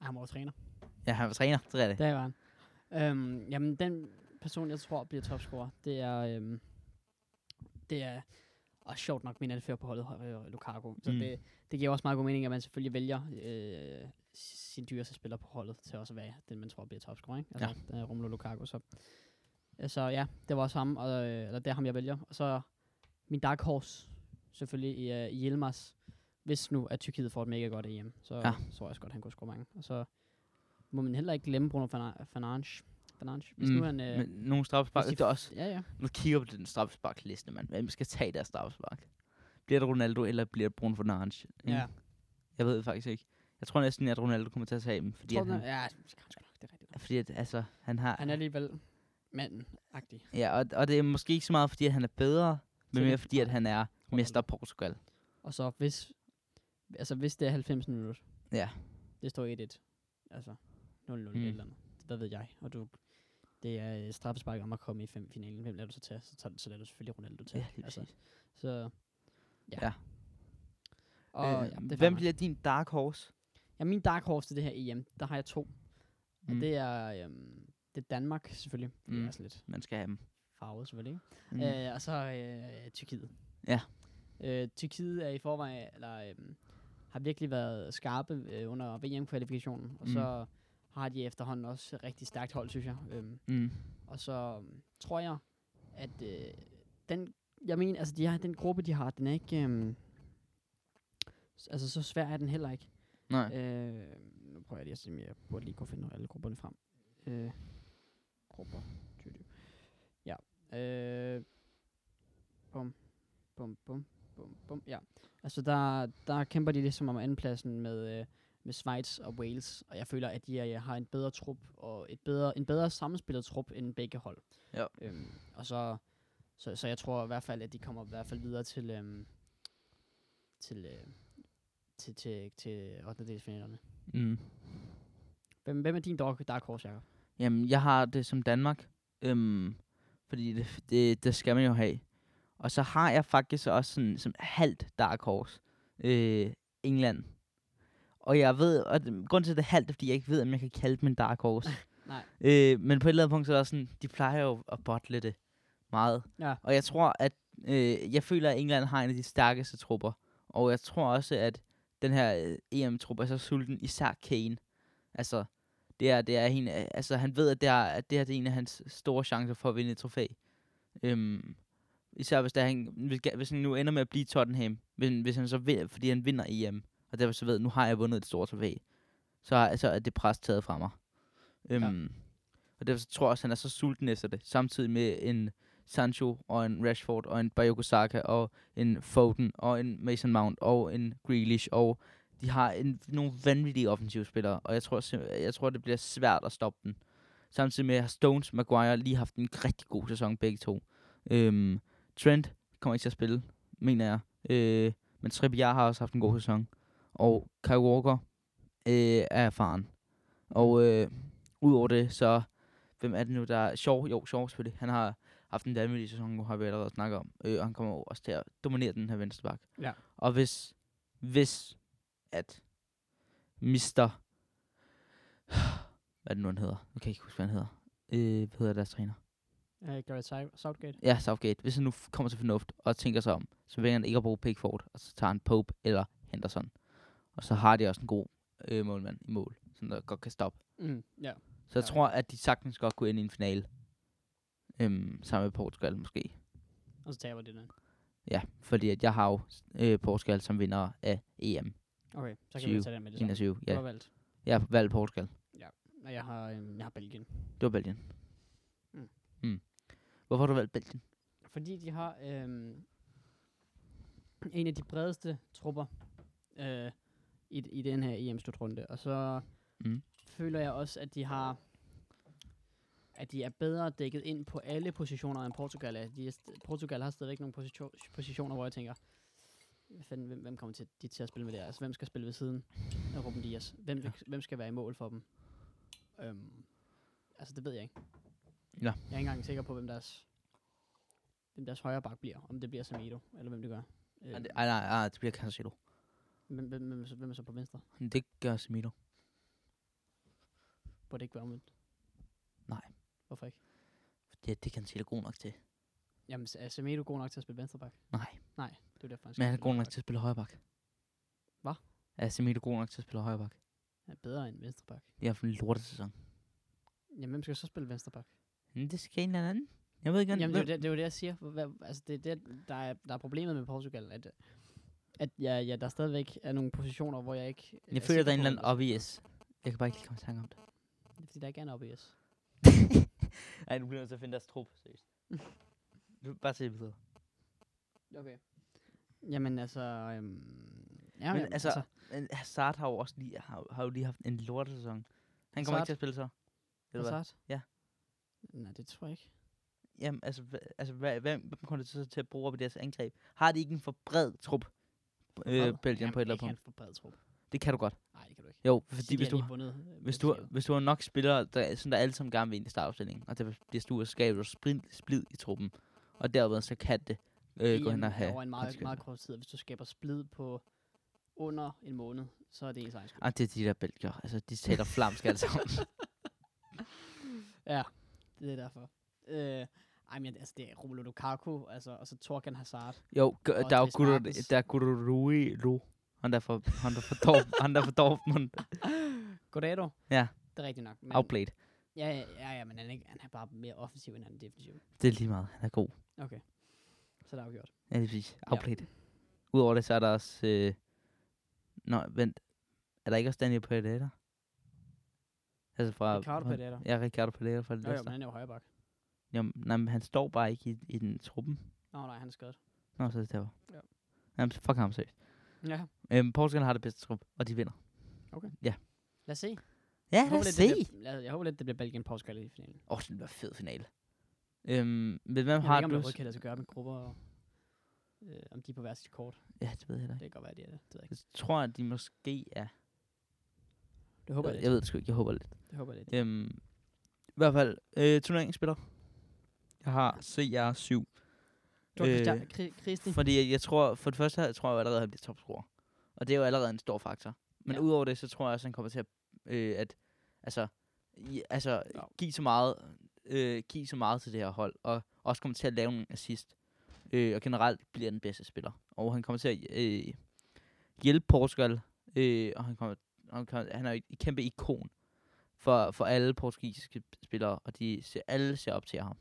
A: Ah, Han var jo træner.
B: Ja, han var træner, det er det.
A: Der var han. Øhm, jamen, den person, jeg tror bliver topscorer, det er... Øhm, det er... Og sjovt nok, min anfører på holdet øh, Lukaku. Så
B: Mm.
A: mm. det, det giver også meget god mening, at man selvfølgelig vælger øh, sin dyreste spiller på holdet til også at være den, man tror bliver topscorer. Ikke? Altså, ja. Romelu Lukaku. Så. Øh, så ja, det var også ham, og, øh, eller det er ham, jeg vælger. Og så min dark horse, selvfølgelig, er Hjelmars. Hvis nu, at Tyrkiet får et mega godt EM, så
B: Ja.
A: ja. tror jeg også godt, han kunne score mange. Og så må man heller ikke glemme Bruno Ferna- Fernandes. Fernandes. Hvis mm, nu han... Øh,
B: Men Mm, nogle straffespark,
A: hvis de-
B: det er også,
A: ja, ja.
B: nu kigger jeg på den straffesparkliste, mand. Hvem skal tage deres straffespark? Bliver det Ronaldo, eller bliver det Bruno Fernandes? Ikke?
A: ja.
B: Jeg ved det faktisk ikke. Jeg tror næsten, at Ronaldo kommer til at tage dem, fordi,
A: Tror
B: at
A: du, han,
B: han,
A: ja, det kan han sgu nok, det er rigtigt. nok.
B: fordi at, altså, han har...
A: Han er alligevel manden-agtig.
B: Ja, og, og det er måske ikke så meget, fordi at han er bedre, men
A: Til-
B: mere fordi, at han er
A: jeg
B: mester Portugal.
A: Og så hvis... Altså, hvis det er 90 minutter.
B: Ja.
A: Det står 1-1. Altså, 0-0
B: Mm.
A: eller andet. Hvad ved jeg? Og du... Det er øh, straffespark om at komme i fem finalen. Hvem lader du så tage? Så, tager, så lader du selvfølgelig Ronaldo tage. altså.
B: Ja, lige præcis.
A: så... Ja.
B: Ja.
A: Og, øh, ja,
B: øh,
A: det er fair
B: hvem
A: nok.
B: bliver din dark horse?
A: Ja, min dark horse til det her EM, der har jeg to. Mm.
B: Mm.
A: Og det er, øhm, det er Danmark, selvfølgelig. Mm.
B: Mm.
A: Det er sådan lidt
B: Man skal have dem.
A: farvet, selvfølgelig. Ikke?
B: Mm. Øh,
A: Øh, og så øh, Tyrkiet.
B: Ja.
A: Øh, Tyrkiet er i øhm, forvejen, eller øh, har virkelig været skarpe øh, under VM-kvalifikationen, og
B: Mm.
A: så har de efterhånden også et rigtig stærkt hold, synes jeg. Øhm,
B: Mm.
A: og så øhm, tror jeg, at øh, den, jeg mener, altså de har, den gruppe, de har, den er ikke, øhm, s- altså så svær er den heller ikke.
B: Nej.
A: Øh, nu prøver jeg lige at se, om jeg burde lige kunne finde alle grupperne frem. Øh, grupper. Ty, ty. Ja. Øh, bum, bum, bum, bum, bum. Ja. Altså, der, der kæmper de ligesom om andenpladsen med, øh, med Schweiz og Wales, og jeg føler, at de øh, har en bedre trup, og et bedre, en bedre sammenspillet trup end begge hold.
B: Ja.
A: Øhm, og så, så, så jeg tror i hvert fald, at de kommer i hvert fald videre til, øhm, til, øh, til, til, til 8. delsfinalerne.
B: Mm.
A: Hvem, hvem er din dog, Dark Horse, Jacob?
B: Jamen, jeg har det som Danmark. Øhm, fordi det, det, det skal man jo have. Og så har jeg faktisk også sådan, som halvt dark horse. Øh, England. Og jeg ved, og den- grunden til at det er halvt, er, fordi jeg ikke ved, om jeg kan kalde dem en dark horse.
A: Nej.
B: Øh, men på et eller andet punkt, så er det også sådan, de plejer jo at botle det meget.
A: Ja.
B: Og jeg tror, at øh, jeg føler, at England har en af de stærkeste trupper. Og jeg tror også, at den her øh, EM-trup er så sulten, især Kane. Altså, det er, det er en, af- altså, han ved, at det, er, at det her det er en af hans store chancer for at vinde et trofæ. Øhm, især hvis, der, han, hvis, ga- hvis han nu ender med at blive i Tottenham, men hvis han så vinder, fordi han vinder EM, og derfor så ved, nu har jeg vundet et stort trofæ, så, er- så er det pres taget fra mig. Øhm, ja. Og derfor så tror jeg også, at han er så sulten efter det, samtidig med en Sancho og en Rashford og en Bayoko Saka og en Foden og en Mason Mount og en Grealish og de har en, nogle vanvittige offensive spillere, og jeg tror, simp- jeg tror, det bliver svært at stoppe den. Samtidig med, at Stones og Maguire lige haft en rigtig god sæson begge to. Øhm, Trent kommer ikke til at spille, mener jeg. Øh, men Trippier har også haft en god sæson. Og Kyle Walker øh, er erfaren. Og øh, udover det, så... Hvem er det nu, der er Shaw? Jo, Shaw selvfølgelig. Han har haft en vanvittig sæson, nu har vi allerede snakket om. Øh, og han kommer jo også til at dominere den her venstre bak.
A: Ja.
B: Og hvis, hvis at Mister... Hvad er det nu, han hedder? Nu kan jeg ikke huske, hvad han hedder. Øh, hvad hedder deres træner?
A: Uh, Gareth Sau- Southgate.
B: Ja, Southgate. Hvis han nu f- kommer til fornuft og tænker sig om, så vælger han ikke at bruge Pickford, og så tager han Pope eller Henderson. Og så har de også en god øh, målmand i mål, som der godt kan stoppe.
A: Mm, ja.
B: Så
A: Ja.
B: jeg tror, at de sagtens godt kunne ende i en finale. Øhm, sammen med Portugal måske.
A: Og så taber de den.
B: Ja, fordi at jeg har jo øh, Portugal som vinder af EM
A: Okay, så kan vi
B: 20,
A: tage den med det samme.
B: 21.
A: Du har
B: Ja,
A: valgt.
B: jeg har valgt Portugal.
A: Og jeg har, øhm, jeg har Belgien.
B: Det var Belgien.
A: Mm.
B: Mm. Hvorfor har du valgt Belgien?
A: Fordi de har øhm, en af de bredeste trupper øh, i, i den her EM-slutrunde. Og så
B: Mm.
A: føler jeg også, at de har at de er bedre dækket ind på alle positioner end Portugal er. De er st- Portugal har stadigvæk nogle position, positioner, hvor jeg tænker, hvad fanden, hvem, hvem kommer til, de til at spille med der? Altså, hvem skal spille ved siden af Ruben Dias? Hvem, ja. hvem skal være i mål for dem? Øhm, altså, det ved jeg ikke.
B: Ja.
A: Jeg er ikke engang sikker på, hvem deres, hvem deres højre bak bliver. Om det bliver Samedo, eller hvem det gør.
B: Ej,
A: Øhm,
B: det- Ej, nej, nej, det bliver Cancelo.
A: hvem, hvem, hvem, er så- hvem er så på venstre?
B: Det gør Semino.
A: Burde det ikke være omvendt?
B: Nej.
A: Hvorfor ikke?
B: Det, det er Cancelo god nok til.
A: Jamen, s- er Semedo god nok til at spille venstre bak?
B: Nej.
A: Nej, det er jo derfor, han skal
B: Men han er
A: spille
B: god
A: højre
B: nok
A: bak.
B: til at spille højre bak.
A: Hva?
B: Er Semino god nok til at spille højre bak?
A: Han er bedre end venstre bak.
B: Det er for en lortet sæson.
A: Jamen, hvem skal så spille venstre bak?
B: Men det skal en eller anden. Jeg ved ikke,
A: Jamen, det er, jo
B: hvem-
A: det, det er jo det, jeg siger. Hvor- Hvad, altså, det er det, der er, der er problemet med Portugal, at, at ja, ja, der stadigvæk er nogle positioner, hvor jeg ikke...
B: Altså, Jeg føler, der er en eller
A: sikker på,
B: anden obvious. Jeg kan bare ikke lige komme i tanke om det.
A: hvem der- Fordi der ikke er en obvious.
B: Nej, nu bliver nødt til at finde deres trup, seriøst. Nu bare se videre.
A: Okay. Jamen, altså... Øhm, ja,
B: Men altså, Men Hazard har jo også lige, har, har jo lige haft en lortesæson. Han kommer
A: Hazard?
B: ikke til at spille så. Eller hvad?
A: Hazard?
B: Ja.
A: Nej, det tror jeg ikke.
B: Jamen, altså, hva, altså hva, hvem, hvem kommer det så til at bruge op i deres angreb? Har de ikke en for bred trup? Øh, Belgien på et eller andet punkt.
A: punkt. Jamen, ikke en
B: Det kan du godt.
A: Nej, det kan du ikke.
B: Jo,
A: Fordi
B: fordi hvis du,
A: Vundet, øh,
B: hvis, du,
A: mesterskabet.
B: hvis du har nok spillere, der, er- sådan, der alle sammen gerne vil ind i startopstillingen, og der bliver stor skabet og splid, splid i truppen, og derved så kan det øh, gå hen
A: EM
B: og
A: er
B: have
A: over en meget,
B: konsekvenser.
A: meget kort tid, og hvis du skaber splid på under en måned, så er det ens egen skyld.
B: Ej, det er de der belgier. Altså, de taler flamsk alle sammen.
A: Ja, det er derfor. Øh, ej, men altså, det er Romelu Lukaku, altså, og så Torgan Hazard.
B: Jo, g-
A: Og
B: der er jo
A: Dries
B: Guru,
A: Martens.
B: der er Guru Rui Lo. Han der for, han der for Dorf, han der for Dortmund.
A: Goddag, du.
B: Ja.
A: det er rigtigt nok. Men,
B: Outplayed.
A: ja, ja, ja, ja, men han er, ikke, han er bare mere offensiv, end han er defensiv.
B: Det er lige meget. Han er god.
A: Okay. Så er det afgjort.
B: Ja, det er præcis. Outplayed. Udover det, så er der også... Øh... Nå, vent. Er der ikke også Daniel Predator? Altså fra...
A: Ricardo
B: fra-
A: Predator.
B: Ja, Ricardo Predator fra
A: Nå, jo, men
B: Leicester.
A: han er jo højre bak.
B: Jamen, nej, men han står bare ikke i, i den truppen.
A: Nå, nej, han er skadet.
B: Nå, så er det der.
A: Ja.
B: Jamen, fuck ham seriøst.
A: Ja.
B: Øhm, Portugal har det bedste trup, og de vinder.
A: Lad os se.
B: Ja,
A: Jeg
B: lad
A: håber
B: os
A: lidt,
B: se.
A: det
B: Åh,
A: bliver- lad os- Jeg håber lidt, det bliver Belgien Portugal i finalen.
B: oh, det bliver fed finale. Øhm, men hvem
A: Jeg
B: har
A: ved ikke, om det
B: du?
A: overhovedet kan lade sig gøre med grupper, og, øh, om de er på hver sit kort.
B: Ja, det ved jeg da
A: Det
B: ikke.
A: kan godt være, de er det. Det ved jeg ikke.
B: Jeg tror, at de måske er...
A: Det håber jeg
B: jeg,
A: lidt.
B: jeg ved det sgu ikke, jeg håber lidt.
A: Det håber jeg lidt.
B: Øhm, I hvert fald, øh, turneringsspiller. Jeg har CR7.
A: Du
B: Øh,
A: har Christian, Kri- Kristi.
B: Fordi jeg- jeg tror, for det første her, tror jeg jo allerede, at han bliver topscorer. Og det er jo allerede en stor faktor. Men
A: Ja.
B: ja. udover det, så tror jeg også, at han kommer til at, øh, at altså, i, altså,
A: Ja.
B: give, så meget, øh, give så meget til det her hold. Og også kommer til at lave nogle assist. Øh, og generelt bliver den bedste spiller. Og han kommer til at øh, hjælpe Portugal. Øh, og han, kommer, han, kommer, han er jo et kæmpe ikon for, for alle portugisiske spillere. Og de ser, alle ser op til ham.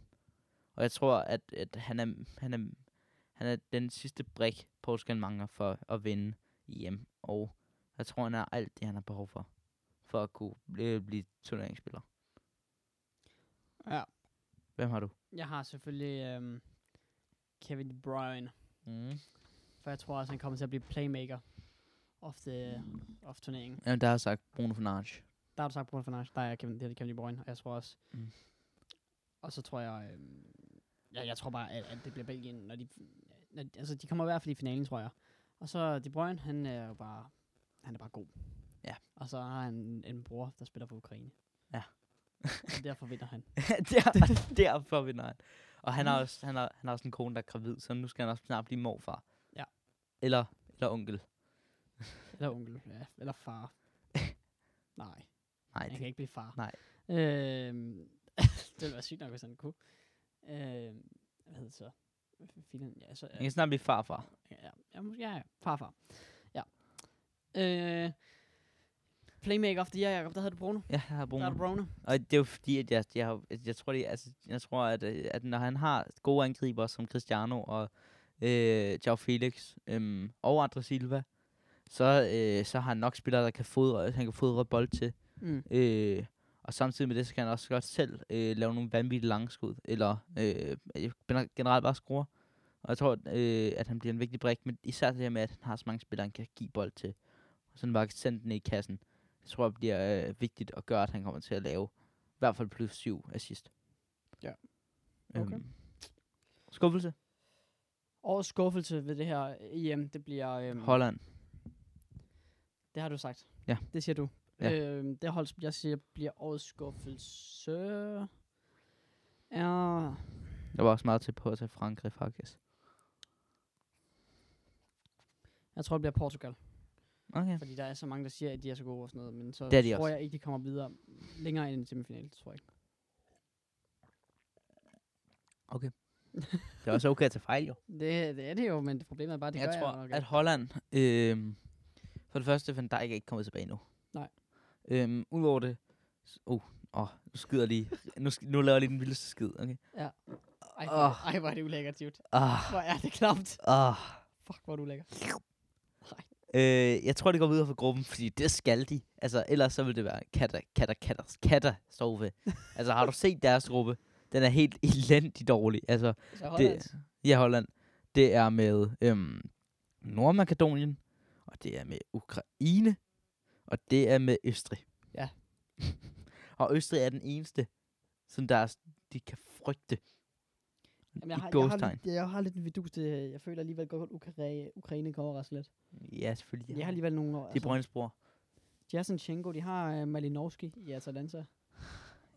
B: Og jeg tror, at, at han, er, han er han er den sidste brik, Portugal mangler for at vinde EM. Og jeg tror, han er alt det, han har behov for. For at kunne blive, blive turneringsspiller.
A: Ja.
B: Hvem har du?
A: Jeg har selvfølgelig øhm, Kevin De Bruyne,
B: Mm.
A: for jeg tror også, han kommer til at blive playmaker of, the, of turneringen.
B: Jamen, der har jeg sagt Bruno Fernandes.
A: Der har du sagt Bruno Fernandes, der er Kevin, det er Kevin De Bruyne, og jeg tror også... Mm.
B: Mm.
A: Og så tror jeg... Øhm, ja, jeg tror bare, at, at det bliver Belgien, når de... Når, de- altså, de kommer i hvert fald i finalen, tror jeg. Og så De Bruyne, han er jo bare... Han er bare god.
B: Ja.
A: Og så har han en, en bror, der spiller for Ukraine.
B: Ja.
A: og derfor vinder han.
B: Der, derfor vinder han. Og
A: Mm.
B: han har, også, han, har, han har også en kone, der er gravid, så nu skal han også snart blive morfar.
A: Ja.
B: Eller, eller onkel.
A: Eller onkel, ja, eller far. Nej.
B: Nej,
A: Han
B: det,
A: kan ikke blive far.
B: Nej.
A: Øhm, det ville være sygt nok, hvis han kunne. Øhm, hvad hedder det så? Filen, ja, så
B: han kan snart blive farfar.
A: ja, ja, måske, ja, ja, farfar. Ja. Øh, Playmaker of the year, Jacob, der havde du Bruno.
B: Ja, jeg har
A: Der er du
B: Bruno.
A: Bruno.
B: Og det er jo fordi, at jeg, jeg, har- at jeg tror, det, er- altså, jeg tror at, øh, at når han har gode angriber som Cristiano og øh, Joao Felix øhm, og Andre Silva, så, øh, så har han nok spillere, der kan fodre, han kan fodre bold til.
A: Mm.
B: Øh, og samtidig med det, så kan han også godt selv øh, lave nogle vanvittige langskud, eller øh, gener- generelt bare score. Og jeg tror, øh, at han bliver en vigtig brik, men især det her med, at han har så mange spillere, han kan give bold til, og sådan bare kan sende den i kassen. Jeg tror, det bliver øh, vigtigt at gøre, at han kommer til at lave i hvert fald plus syv assist.
A: Ja. Okay.
B: Øhm, skuffelse?
A: Årets skuffelse ved det her EM, det bliver... Øhm,
B: Holland.
A: Det har du sagt.
B: Ja.
A: Det siger du.
B: Ja.
A: Øhm, det hold, som jeg siger, bliver årets skuffelse... Er...
B: Jeg var også meget til på at tage Frankrig, faktisk.
A: Jeg tror, det bliver Portugal.
B: Okay.
A: Fordi der er så mange, der siger, at de er så gode og sådan noget. Men så
B: Det er de
A: tror
B: også.
A: jeg ikke, de kommer videre længere end en semifinal, tror jeg ikke.
B: Det er også okay at tage fejl, jo.
A: Det, det er det jo, men det problemet er bare, at det
B: jeg
A: gør
B: tror,
A: jeg nok
B: at
A: ikke.
B: Holland... Øh, for det første, Van Dijk er ikke kommet tilbage nu.
A: Nej.
B: Øhm, Udover det... s- Åh, oh, oh, nu skyder jeg lige... nu, sk- nu laver jeg lige den vildeste skid, okay?
A: Ej, hvor, oh. ej, hvor er det ulækkert, Jude.
B: Ah,
A: Hvor er det klamt.
B: ah.
A: Fuck, hvor er du lækker.
B: Øh, jeg tror, det går videre for gruppen, fordi det skal de. Altså, ellers så vil det være katter, katter, katter, katter, står ved. altså, har du set deres gruppe? Den er helt elendig dårlig. Altså,
A: Så Holland, det,
B: Ja, Holland. Det er med øhm, Nordmakedonien, og det er med Ukraine, og det er med Østrig.
A: Ja.
B: og Østrig er den eneste, som der er, s- de kan frygte.
A: jamen, jeg, har,
B: I
A: jeg, har
B: gåstegn.
A: lidt, jeg har lidt en vidus til, øh, jeg føler alligevel godt, at Ukraine, Ukraine kommer ret lidt.
B: Ja, selvfølgelig.
A: Jeg har alligevel nogle år.
B: De altså. Brønds bror.
A: de har Sinchenko, de har uh, Malinowski i Atalanta. Ja.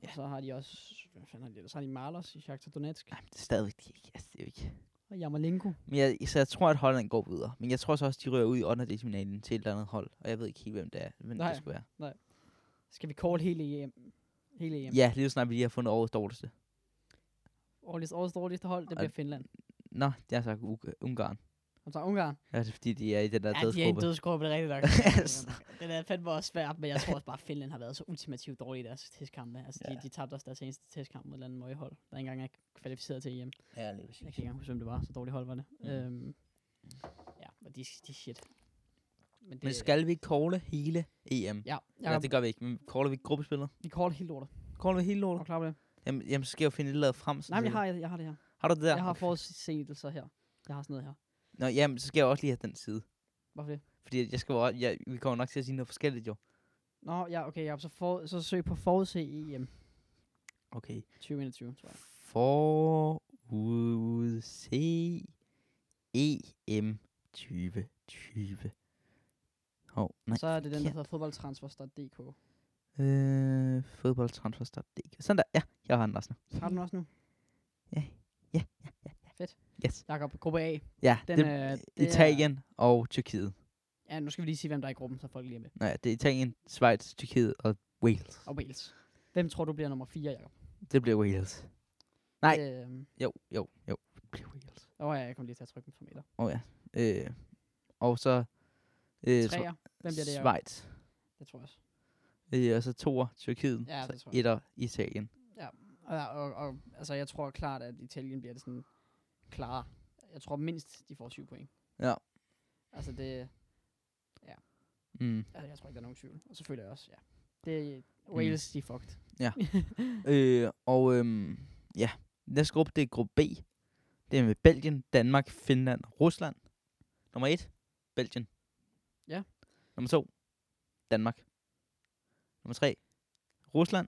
B: Ja.
A: Og så har de også, hvad fanden har de ellers? Så har de Marlos i Shakhtar Donetsk.
B: Nej, men det er stadigvæk de ikke. Altså, det er jo ikke.
A: Og Jamalenko.
B: Men jeg, så jeg tror, at Holland går videre. Men jeg tror så også, de rører ud i underdelsfinalen til et eller andet hold. Og jeg ved ikke helt, hvem det er. Hvem
A: Nej.
B: det skulle være.
A: Skal vi call hele EM? Hele EM.
B: Ja, lige så snart vi lige har fundet årets dårligste.
A: Årets, årets dårligste hold, det
B: Og-
A: bliver Finland.
B: Nå, jeg har sagt Uk- Ungarn.
A: Han tager Ungarn.
B: Ja, det er fordi, de er i den der
A: Ja, de er i en dødsgruppe,
B: dødsgruppe.
A: det er rigtigt
B: Altså.
A: nok. den er fandme også svær, men jeg tror også bare, at Finland har været så ultimativt dårlige i deres testkampe. Altså, de, de tabte også deres eneste testkamp mod et eller andet møghold, der ikke engang er kvalificeret til EM.
B: Ja, lige
A: Jeg
B: præcis.
A: kan ikke engang huske, hvem det var, så dårligt hold var det. Mm. Øhm, ja, men de, de er shit. det,
B: Men skal vi calle hele EM?
A: Ja,
B: Ja, Nej,
A: jeg,
B: det gør vi ikke. Men caller vi ikke gruppespillet?
A: vi call det helt lortet.
B: Caller vi hele
A: Er du
B: lortet?
A: klar på det?
B: Jamen, jamen, så skal jeg jo finde et eller andet frem. sådan
A: Nej, men jeg
B: set.
A: har, jeg, jeg har det her.
B: har du det der?
A: Jeg har
B: Okay.
A: forudsigelser her. Jeg har sådan noget her.
B: Nå, jamen, så skal jeg også lige have den side.
A: Hvorfor det?
B: Fordi at jeg skal jo også, jeg, vi kommer nok til at sige noget forskelligt, jo.
A: Nå, ja, okay, ja, så, for, så søg på forudse E EM
B: Okay.
A: 2021, tror jeg.
B: Forudse E EM 2020. Hov, nej.
A: så er det den, der
B: forkert.
A: hedder fodboldtransfer.dk.
B: Øh, fodboldtransfer.dk. Sådan der. Ja, jeg har den også nu.
A: Har du den også nu?
B: Ja, ja,
A: ja. Fedt.
B: Yes.
A: Jakob, gruppe A.
B: Ja,
A: Den,
B: den, det,
A: øh,
B: det
A: det
B: Italien og Tyrkiet.
A: Er, ja, nu skal vi lige sige, hvem der er i gruppen, så folk lige er med.
B: Nej, det er Italien, Schweiz, Tyrkiet og Wales.
A: Og Wales. Hvem tror du bliver nummer 4, Jacob?
B: Det bliver Wales. Nej.
A: Øhm,
B: Jo, jo, jo. Det bliver Wales.
A: åh ja, jeg kom lige til at trykke på meter.
B: Åh oh, ja. Øh, og så... Øh, så-
A: Treer. Hvem bliver det, Jacob?
B: Schweiz.
A: Det tror jeg også.
B: Øh, og så toer Tyrkiet.
A: Ja,
B: så
A: det tror jeg.
B: etter Italien.
A: Og, ja, og, og, altså, jeg tror klart, at Italien bliver det sådan klare. Jeg tror mindst, de får 7 point.
B: Ja.
A: Altså, det,
B: Mm.
A: altså, jeg tror ikke, der er nogen tvivl. Og selvfølgelig også, ja. Det, Wales, mm. de er fucked.
B: Øh, og øhm, ja, næste gruppe, det er gruppe B. Det er med Belgien, Danmark, Finland og Rusland. Nummer 1, Belgien.
A: Ja.
B: Nummer 2, Danmark. Nummer 3, Rusland.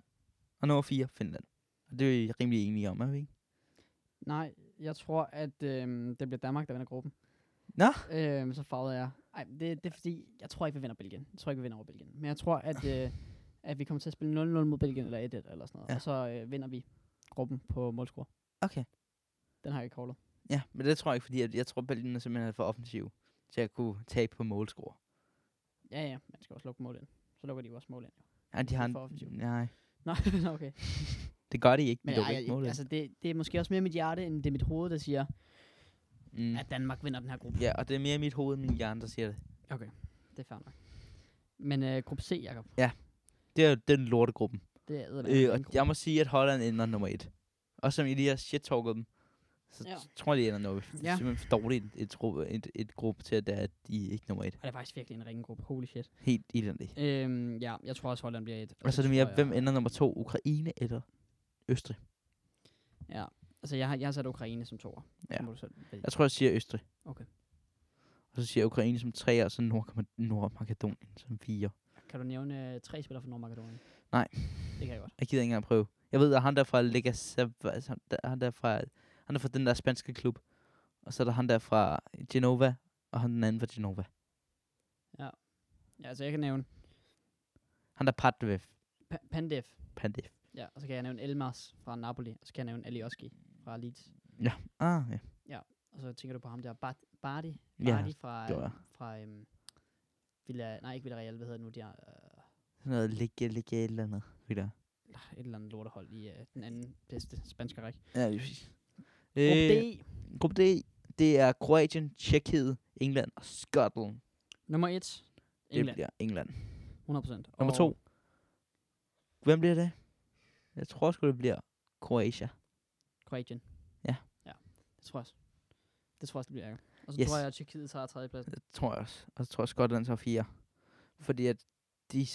B: Og nummer 4, Finland. Og det er vi rimelig enige om, er vi ikke?
A: Nej, jeg tror, at øhm, det bliver Danmark, der vinder gruppen.
B: Nå.
A: Øhm, så farvede jeg. Ej, det, det er fordi, jeg tror ikke, vi vinder Belgien. Jeg tror ikke, vi vinder over Belgien. Men jeg tror, at, øh, at vi kommer til at spille 0-0 mod Belgien, eller 1-1, eller sådan noget.
B: Ja.
A: Ja. Og så øh, vinder vi gruppen på målscore.
B: Okay.
A: Den har jeg ikke callet.
B: Ja, men det tror jeg ikke, fordi jeg, jeg tror, Belgien er simpelthen for offensiv til at kunne tabe på målscore.
A: Ja, ja, man skal også lukke mål ind. Så lukker de jo også mål ind. jo.
B: Ja, de
A: er
B: har
A: for offensiv.
B: en, nej,
A: Nå, nå, okay.
B: det gør de ikke.
A: Men
B: Men,
A: ej,
B: de ej, ikke
A: ej,
B: målet.
A: altså, det, det er måske også mere mit hjerte, end det er mit hoved, der siger,
B: mm.
A: at Danmark vinder den her gruppe.
B: Ja, og det er mere i mit hoved end min hjerne, der siger det.
A: Okay, det er fair nok. Men øh, gruppe C, Jacob,
B: Det er jo den lortegruppen.
A: det er eddermame
B: Øh,
A: en
B: og
A: gruppe.
B: jeg må sige, at Holland ender nummer et. Og som I lige har shit-talket dem, så
A: Ja.
B: ja. tror jeg, de ender nummer et. Det
A: Ja.
B: er simpelthen for dårligt et, et, gruppe, et, et gruppe til, at det er, at de er ikke nummer et.
A: Og det er faktisk virkelig en ringe gruppe. Holy shit.
B: Helt elendigt.
A: Øhm, ja, jeg tror også, Holland bliver et.
B: Og så er Altså, det
A: tror
B: mere,
A: jeg-
B: hvem ender nummer to? Ukraine eller Østrig?
A: Ja, altså jeg har, jeg har sat Ukraine som toer.
B: Ja. Altså-
A: Så Må du selv vælge.
B: Jeg tror, jeg siger Østrig.
A: Okay.
B: Og så siger jeg Ukraine som tre, og så Nord- Nordmakedonien som fire.
A: Kan du nævne øh, tre spillere fra Nordmakedonien?
B: Nej.
A: Det kan jeg godt.
B: Jeg gider ikke engang prøve. Jeg ved, at han der fra Lega Sava- altså, han der- han der fra, han er fra den der spanske klub. Og så er der han der fra Genova, og han den anden fra Genova.
A: Ja, altså jeg kan nævne
B: Han der Padvev.
A: pa- Pandev.
B: Pandev.
A: Ja, og så kan jeg nævne Elmas fra Napoli. Og så kan jeg nævne Alioski fra Leeds.
B: Ah, ja.
A: Og så tænker du på ham der, Bart, Bardi,
B: Ja,
A: Bardi fra,
B: det var
A: øh,
B: jeg.
A: fra øhm, Villa, nej ikke Villarreal, hvad hedder det nu, de har øh,
B: Sådan noget Lega, Lega et eller andet. Ved du?
A: et eller andet lortehold i øh, den anden bedste spanske række.
B: Ja, lige præcis. Øh,
A: Gruppe D,
B: gruppe D, det er Kroatien, Tjekkiet, England og Skotland.
A: nummer 1,
B: Det
A: England,
B: bliver England.
A: 100%.
B: Nummer
A: Og-
B: to. Hvem bliver det? Jeg tror sgu, det bliver Kroatia.
A: Kroatien.
B: Ja.
A: Ja, det tror jeg også. Det tror jeg også, det bliver ærger. Og så yes.
B: Yes.
A: tror jeg, at Tyrkiet tager tredjepladsen.
B: Det tror jeg også. Og så tror jeg, Skotland tager fire. Fordi at de, de,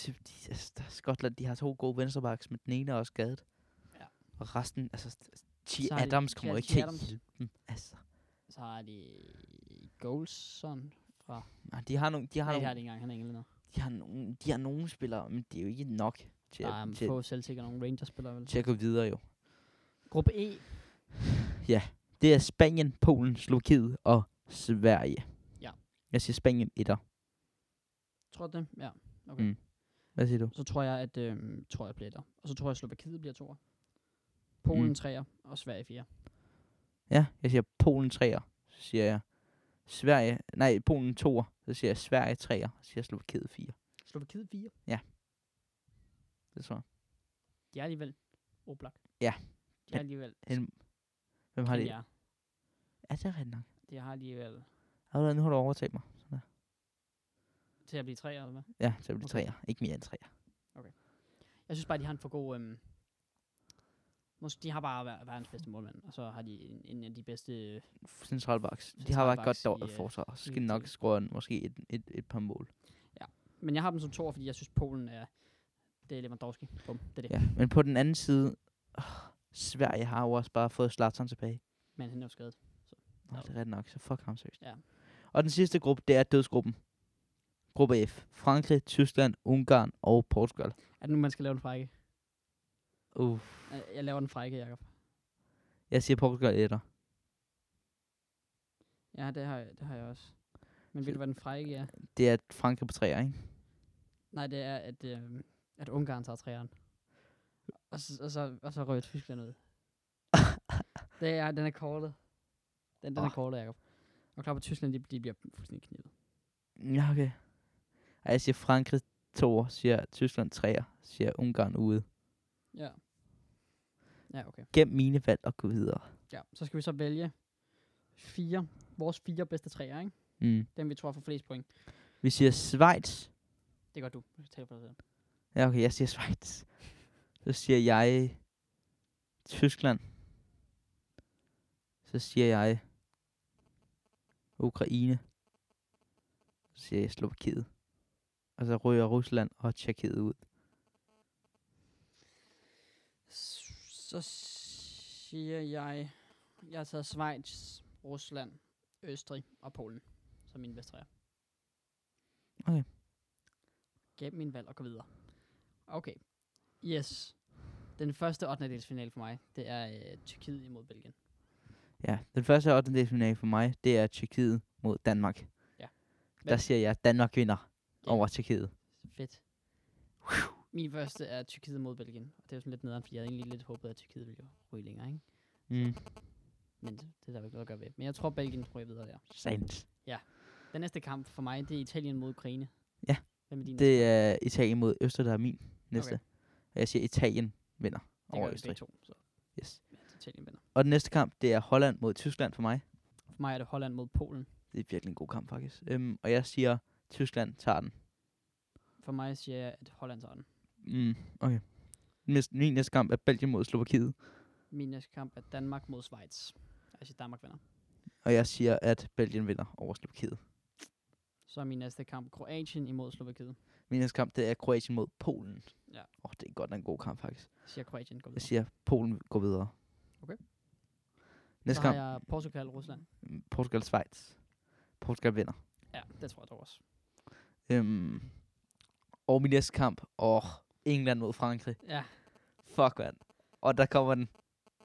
B: altså, der, Skotland, de har to gode venstrebacks, men den ene er også skadet.
A: Ja.
B: Og resten, altså, Chi
A: Så har de-
B: Adams
A: ja,
B: kommer jo ikke
A: Chi
B: til at
A: Adams.
B: hjælpe dem. Altså,
A: Så har de Goldson fra...
B: nej, de har nogle, de har
A: Nej, det har
B: nogle,
A: de ikke engang. Han er englænder.
B: de har nogle, de har nogle spillere, men det er jo ikke nok til,
A: Der er
B: at, til,
A: få selvsikker nogle Rangers-spillere, vel?
B: til at gå videre jo.
A: Gruppe E.
B: Det er Spanien, Polen, Slovakiet og Sverige.
A: Ja.
B: Jeg siger Spanien etter.
A: Tror du det? Ja. Okay.
B: Mm. Hvad siger du?
A: Så tror jeg, at... Øh, tror jeg bliver der. Og så tror jeg, at Slovakiet bliver toer. Polen
B: Mm.
A: treer. Og Sverige fire.
B: Ja, jeg siger Polen 3'er, så siger jeg Sverige, nej, Polen 2'er, så siger jeg Sverige 3'er, så siger jeg Slovakiet 4.
A: Slovakiet fire.
B: Det tror jeg.
A: De er alligevel Oblak.
B: Ja.
A: De er alligevel...
B: Hen- Hvem har det?
A: Ja.
B: Er det rigtigt nok?
A: De har alligevel...
B: Har du, nu har du overtaget mig.
A: Til at blive tre eller hvad?
B: Ja, så bliver det
A: Okay.
B: okay. Ikke mere end træer.
A: Jeg synes bare, de har en for god... Øhm, måske de har bare ver- verdens bedste målmand, og så har de en, en af de bedste... Øh,
B: Centralbaks. De har bare et
A: Centralbacks
B: godt dog
A: i,
B: at
A: øh,
B: forsvar. Så skal de
A: i-
B: nok score en, måske et, et, et par mål.
A: men jeg har dem som to, fordi jeg synes, Polen er... Det er Lewandowski. Bum, det er det.
B: Ja. Men på den anden side, øh, Sverige har jo også bare fået Zlatan tilbage.
A: Men han er jo skadet.
B: Nå,
A: Ja.
B: det er ret nok, så fuck ham seriøst.
A: Ja.
B: Og den sidste gruppe, det er dødsgruppen. Gruppe F. Frankrig, Tyskland, Ungarn og Portugal.
A: Er det nu, man skal lave en frække?
B: Uh.
A: Øh, Jeg laver en frække, Jacob.
B: Jeg siger Portugal etter.
A: Ja, det har, jeg, det har jeg også. Men ved du, hvad den frække er?
B: Det er Frankrig på træer, ikke?
A: Nej, det er, at, øh, at Ungarn tager træeren. Og så, og så, og så røg Tyskland ud. det er, den er kortet. Den, den oh. er
B: Åh.
A: kortet, Jacob. Og klar på Tyskland, de, de bliver fuldstændig knivet.
B: Ja, okay. Ej, jeg siger Frankrig to, siger Tyskland træer, siger Ungarn ude.
A: Ja. Ja, okay.
B: Gem mine valg og gå videre.
A: Ja, så skal vi så vælge fire, vores fire bedste træer, ikke?
B: Mm.
A: Dem, vi tror får flest point.
B: Vi siger Schweiz.
A: Det gør du. Jeg taler for dig selv.
B: Ja, okay, jeg siger Schweiz. Så siger jeg Tyskland. Så siger jeg Ukraine. Så siger jeg Slovakiet. Og så ryger Rusland og Tjekkiet ud.
A: Så siger jeg, jeg har taget Schweiz, Rusland, Østrig og Polen som mine bedste træer.
B: Okay.
A: Gem min valg og gå videre. Okay. Yes. Den første 8. delsfinale for mig, det er øh, Tyrkiet imod Belgien.
B: Ja, den første 8. delsfinale for mig, det er Tjekkiet mod Danmark.
A: Ja.
B: Der
A: Hvad-
B: siger jeg, Danmark vinder
A: Ja.
B: over Tjekkiet.
A: Fedt. Min første er Tyrkiet mod Belgien. Og det er jo sådan lidt nederen, fordi jeg havde egentlig lidt håbet, at Tyrkiet ville jo ryge længere, ikke?
B: Mm.
A: Men det er der jo ikke noget at gøre ved. Men jeg tror, Belgien tror jeg videre der.
B: Sandt.
A: Den næste kamp for mig, det er Italien mod Ukraine.
B: Ja.
A: Hvem er din næste?
B: Det er Italien mod Østrig, der er min næste.
A: Okay.
B: Okay. Og jeg siger, Italien vinder
A: det gør
B: over
A: vi begge
B: Østrig.
A: to, så
B: Yes.
A: at Italien vinder.
B: Og den næste kamp, det er Holland mod Tyskland for mig.
A: For mig er det Holland mod Polen.
B: Det er virkelig en god kamp, faktisk. Øhm, og jeg siger, Tyskland tager den.
A: For mig siger jeg, at Holland tager den.
B: Mm, okay. Næste, min næste kamp er Belgien mod Slovakiet.
A: Min næste kamp er Danmark mod Schweiz. Og Jeg siger, Danmark vinder.
B: Og jeg siger, at Belgien vinder over Slovakiet.
A: Så er min næste kamp Kroatien imod Slovakiet.
B: Min næste kamp, det er Kroatien mod Polen.
A: Ja.
B: Åh, oh, det er godt nok en god kamp, faktisk.
A: Jeg siger Kroatien går
B: Jeg
A: videre.
B: siger, Polen går videre.
A: Okay.
B: Næste
A: så
B: kamp,
A: har jeg Portugal Rusland.
B: jeg... Portugal-Schweiz. Portugal vinder.
A: Ja, det tror jeg dog også.
B: Øhm, og min næste kamp, åh, oh, England mod Frankrig.
A: Ja,
B: Fuck, mand. Og der kommer den.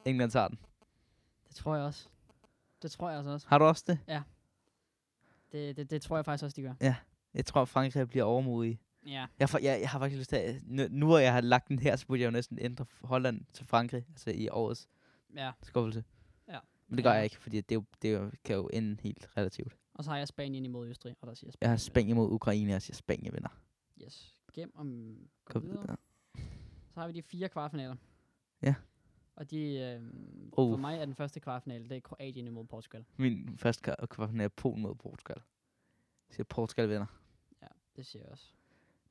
B: England tager den.
A: det tror jeg også. Det tror jeg altså også.
B: Har du også det?
A: Det, det, det tror jeg faktisk også, de gør.
B: Jeg tror, Frankrig bliver overmodige.
A: Ja,
B: Jeg, får, jeg, jeg har faktisk lyst til, at, nu, nu hvor jeg har lagt den her, så burde jeg jo næsten ændre Holland til Frankrig, altså i årets
A: ja.
B: skuffelse.
A: Ja.
B: Men det gør
A: Ja.
B: jeg ikke, fordi det, er jo- det er jo- kan jo ende helt relativt.
A: Og så har jeg Spanien imod Østrig, og der siger Spanien.
B: Jeg har
A: vinder.
B: Spanien mod Ukraine, og jeg siger Spanien vinder.
A: Yes. Gem om
B: Gå
A: gå videre.
B: videre.
A: Så har vi de fire kvartfinaler.
B: Ja.
A: Og de, øh,
B: Uh.
A: for mig er den første kvartfinale, det er Kroatien imod Portugal.
B: Min første kamp kvartfinale er Polen mod Portugal. Jeg siger Portugal vinder.
A: Ja, det siger jeg også.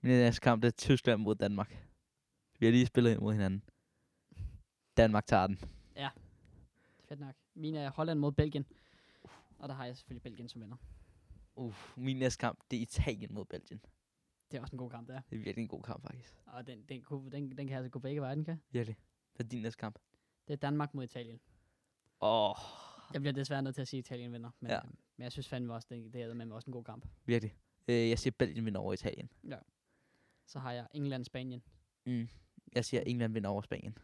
B: Min næste kamp det er Tyskland mod Danmark. Vi har lige spillet ind mod hinanden. Danmark tager den.
A: Fedt nok. Min er Holland mod Belgien. Og der har jeg selvfølgelig Belgien som vinder.
B: Uff, min næste kamp, det er Italien mod Belgien.
A: Det er også en god kamp, der.
B: Det er virkelig en god kamp, faktisk.
A: Og den, den, kunne, den, den kan altså gå begge veje, den kan.
B: Virkelig. Hvad er din næste kamp?
A: Det er Danmark mod Italien.
B: Åh, oh,
A: Jeg bliver desværre nødt til at sige, at Italien vinder. Men,
B: Ja.
A: ja. men jeg synes fandme også, det, det er med også en god kamp.
B: virkelig. Øh, jeg siger Belgien vinder over Italien.
A: Så har jeg England-Spanien.
B: Mm. Jeg siger England vinder over Spanien.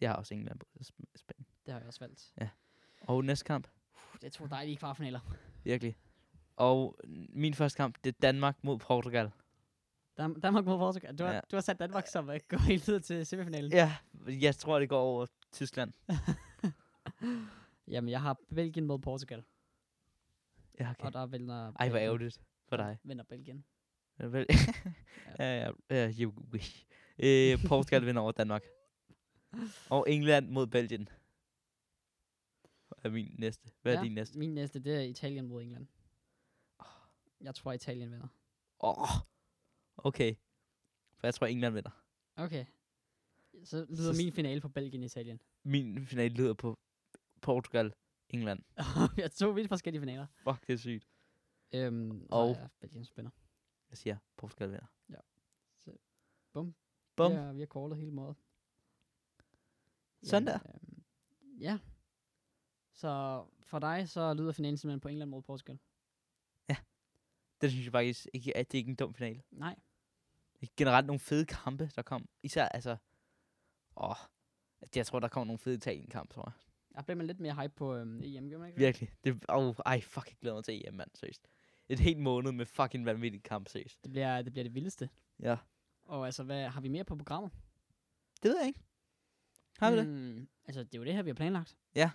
B: Jeg har også England på Sp- Spanien.
A: Det har jeg også valgt.
B: Og næste kamp,
A: Puh, det er to dejlige kvartfinaler.
B: virkelig. Og n- min første kamp, det er Danmark mod Portugal.
A: Dan- Danmark mod Portugal. Du har,
B: Ja.
A: ja. du har sat Danmark som at gå helt videre til semifinalen.
B: Ja, jeg tror, det går over Tyskland.
A: Jamen, jeg har Belgien mod Portugal.
B: Ja,
A: Okay. Og der vinder
B: Ej, hvor
A: Belgien.
B: ærgerligt for
A: Der
B: dig.
A: Vinder Belgien.
B: Ja, Vel, ja, ja, you wish. Øh, Portugal vinder over Danmark. Og England mod Belgien. Er min næste. Hvad er
A: Ja,
B: din næste?
A: Min næste, det er Italien mod England. Jeg tror, Italien vinder.
B: Åh, oh, okay. For jeg tror, England vinder.
A: Okay. Så lyder
B: Så-
A: min finale på Belgien-Italien.
B: Min finale lyder på Portugal, England.
A: Vi har to vidt forskellige finaler.
B: Fuck, det er sygt.
A: Øhm,
B: Og-
A: og ja, Belgien spænder.
B: Jeg siger, Portugal vinder.
A: Ja. Så- bum.
B: Bum.
A: Ja, vi har callet hele måden.
B: Sådan der.
A: Øhm, ja. Så for dig, så lyder finalen simpelthen på England mod Portugal.
B: Det synes jeg faktisk ikke, at det er ikke en dum finale.
A: Nej.
B: Generelt nogle fede kampe, der kom. Især, altså... Åh, at jeg tror, der kommer nogle fede Italien-kamp, tror jeg.
A: Der blev man lidt mere hype på øhm, EM, gør man ikke? det?
B: Virkelig. Det, oh, ej, fuck, jeg glæder mig til EM, mand. Seriøst. Et helt måned med fucking vanvittig kamp, seriøst.
A: Det bliver, det bliver det vildeste.
B: Ja.
A: Og altså, hvad har vi mere på programmet?
B: Det ved jeg ikke. Har vi det?
A: Mm, altså, det er jo det her, vi har planlagt.
B: Ja.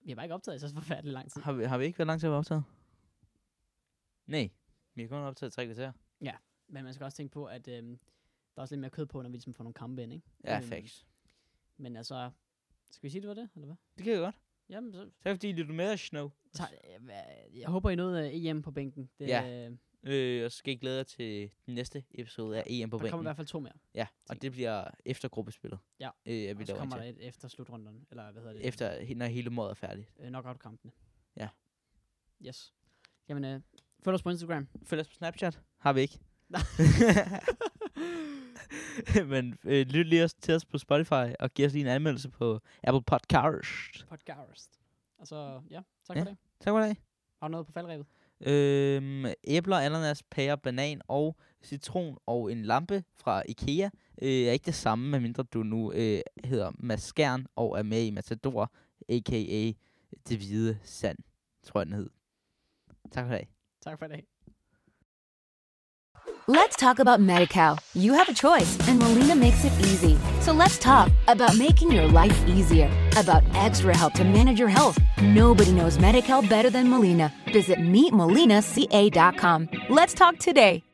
A: Vi har bare ikke optaget i så forfærdeligt lang tid.
B: Har vi, har vi ikke været langt til at være optaget? Nej. Vi har kun optaget tre kvarter.
A: Men man skal også tænke på, at øhm, der er også lidt mere kød på, når vi ligesom får nogle kampe ind, ikke?
B: Ja,
A: Øhm,
B: facts.
A: Men altså, skal vi sige, det var det, eller hvad?
B: Det kan jeg godt.
A: Jamen, så
B: Tak fordi I lyttede med os, Snow.
A: tager, øh, hvad- jeg håber, I nåede øh, EM på bænken. Det,
B: Ja,
A: øh,
B: Øh, og så skal I glæde jer til den næste episode af EM på
A: der kommer i
B: bænken.
A: hvert fald to mere.
B: Ja, og det bliver efter gruppespillet.
A: Ja,
B: øh, at vi
A: Og så
B: laver en
A: kommer øh,
B: til.
A: der et efter slutrunden, eller hvad hedder det?
B: Efter, he- når hele måden er færdigt.
A: Øh, knockout-kampene.
B: Ja.
A: Yes. Jamen, øh, følg os på Instagram.
B: Følg os på Snapchat. Har vi ikke.
A: Nej.
B: Men øh, lyt lige også til os på Spotify, og giv os lige en anmeldelse på Apple Podcast.
A: Podcast. Og så, ja, tak
B: Ja.
A: for det.
B: Tak for i dag.
A: Har du noget på faldrevet?
B: Øhm, æbler, ananas, pære, banan og citron og en lampe fra Ikea øh, er ikke det samme, medmindre du nu øh, hedder Maskern og er med i Matador, a.k.a. Det Hvide Sand, tror jeg den hed. Tak for i dag.
A: Tak for i dag.
E: Let's talk about MediCal. You have a choice, and Molina makes it easy. So let's talk about making your life easier, about extra help to manage your health. Nobody knows MediCal better than Molina. Visit meetmolinaca.com. Let's talk today.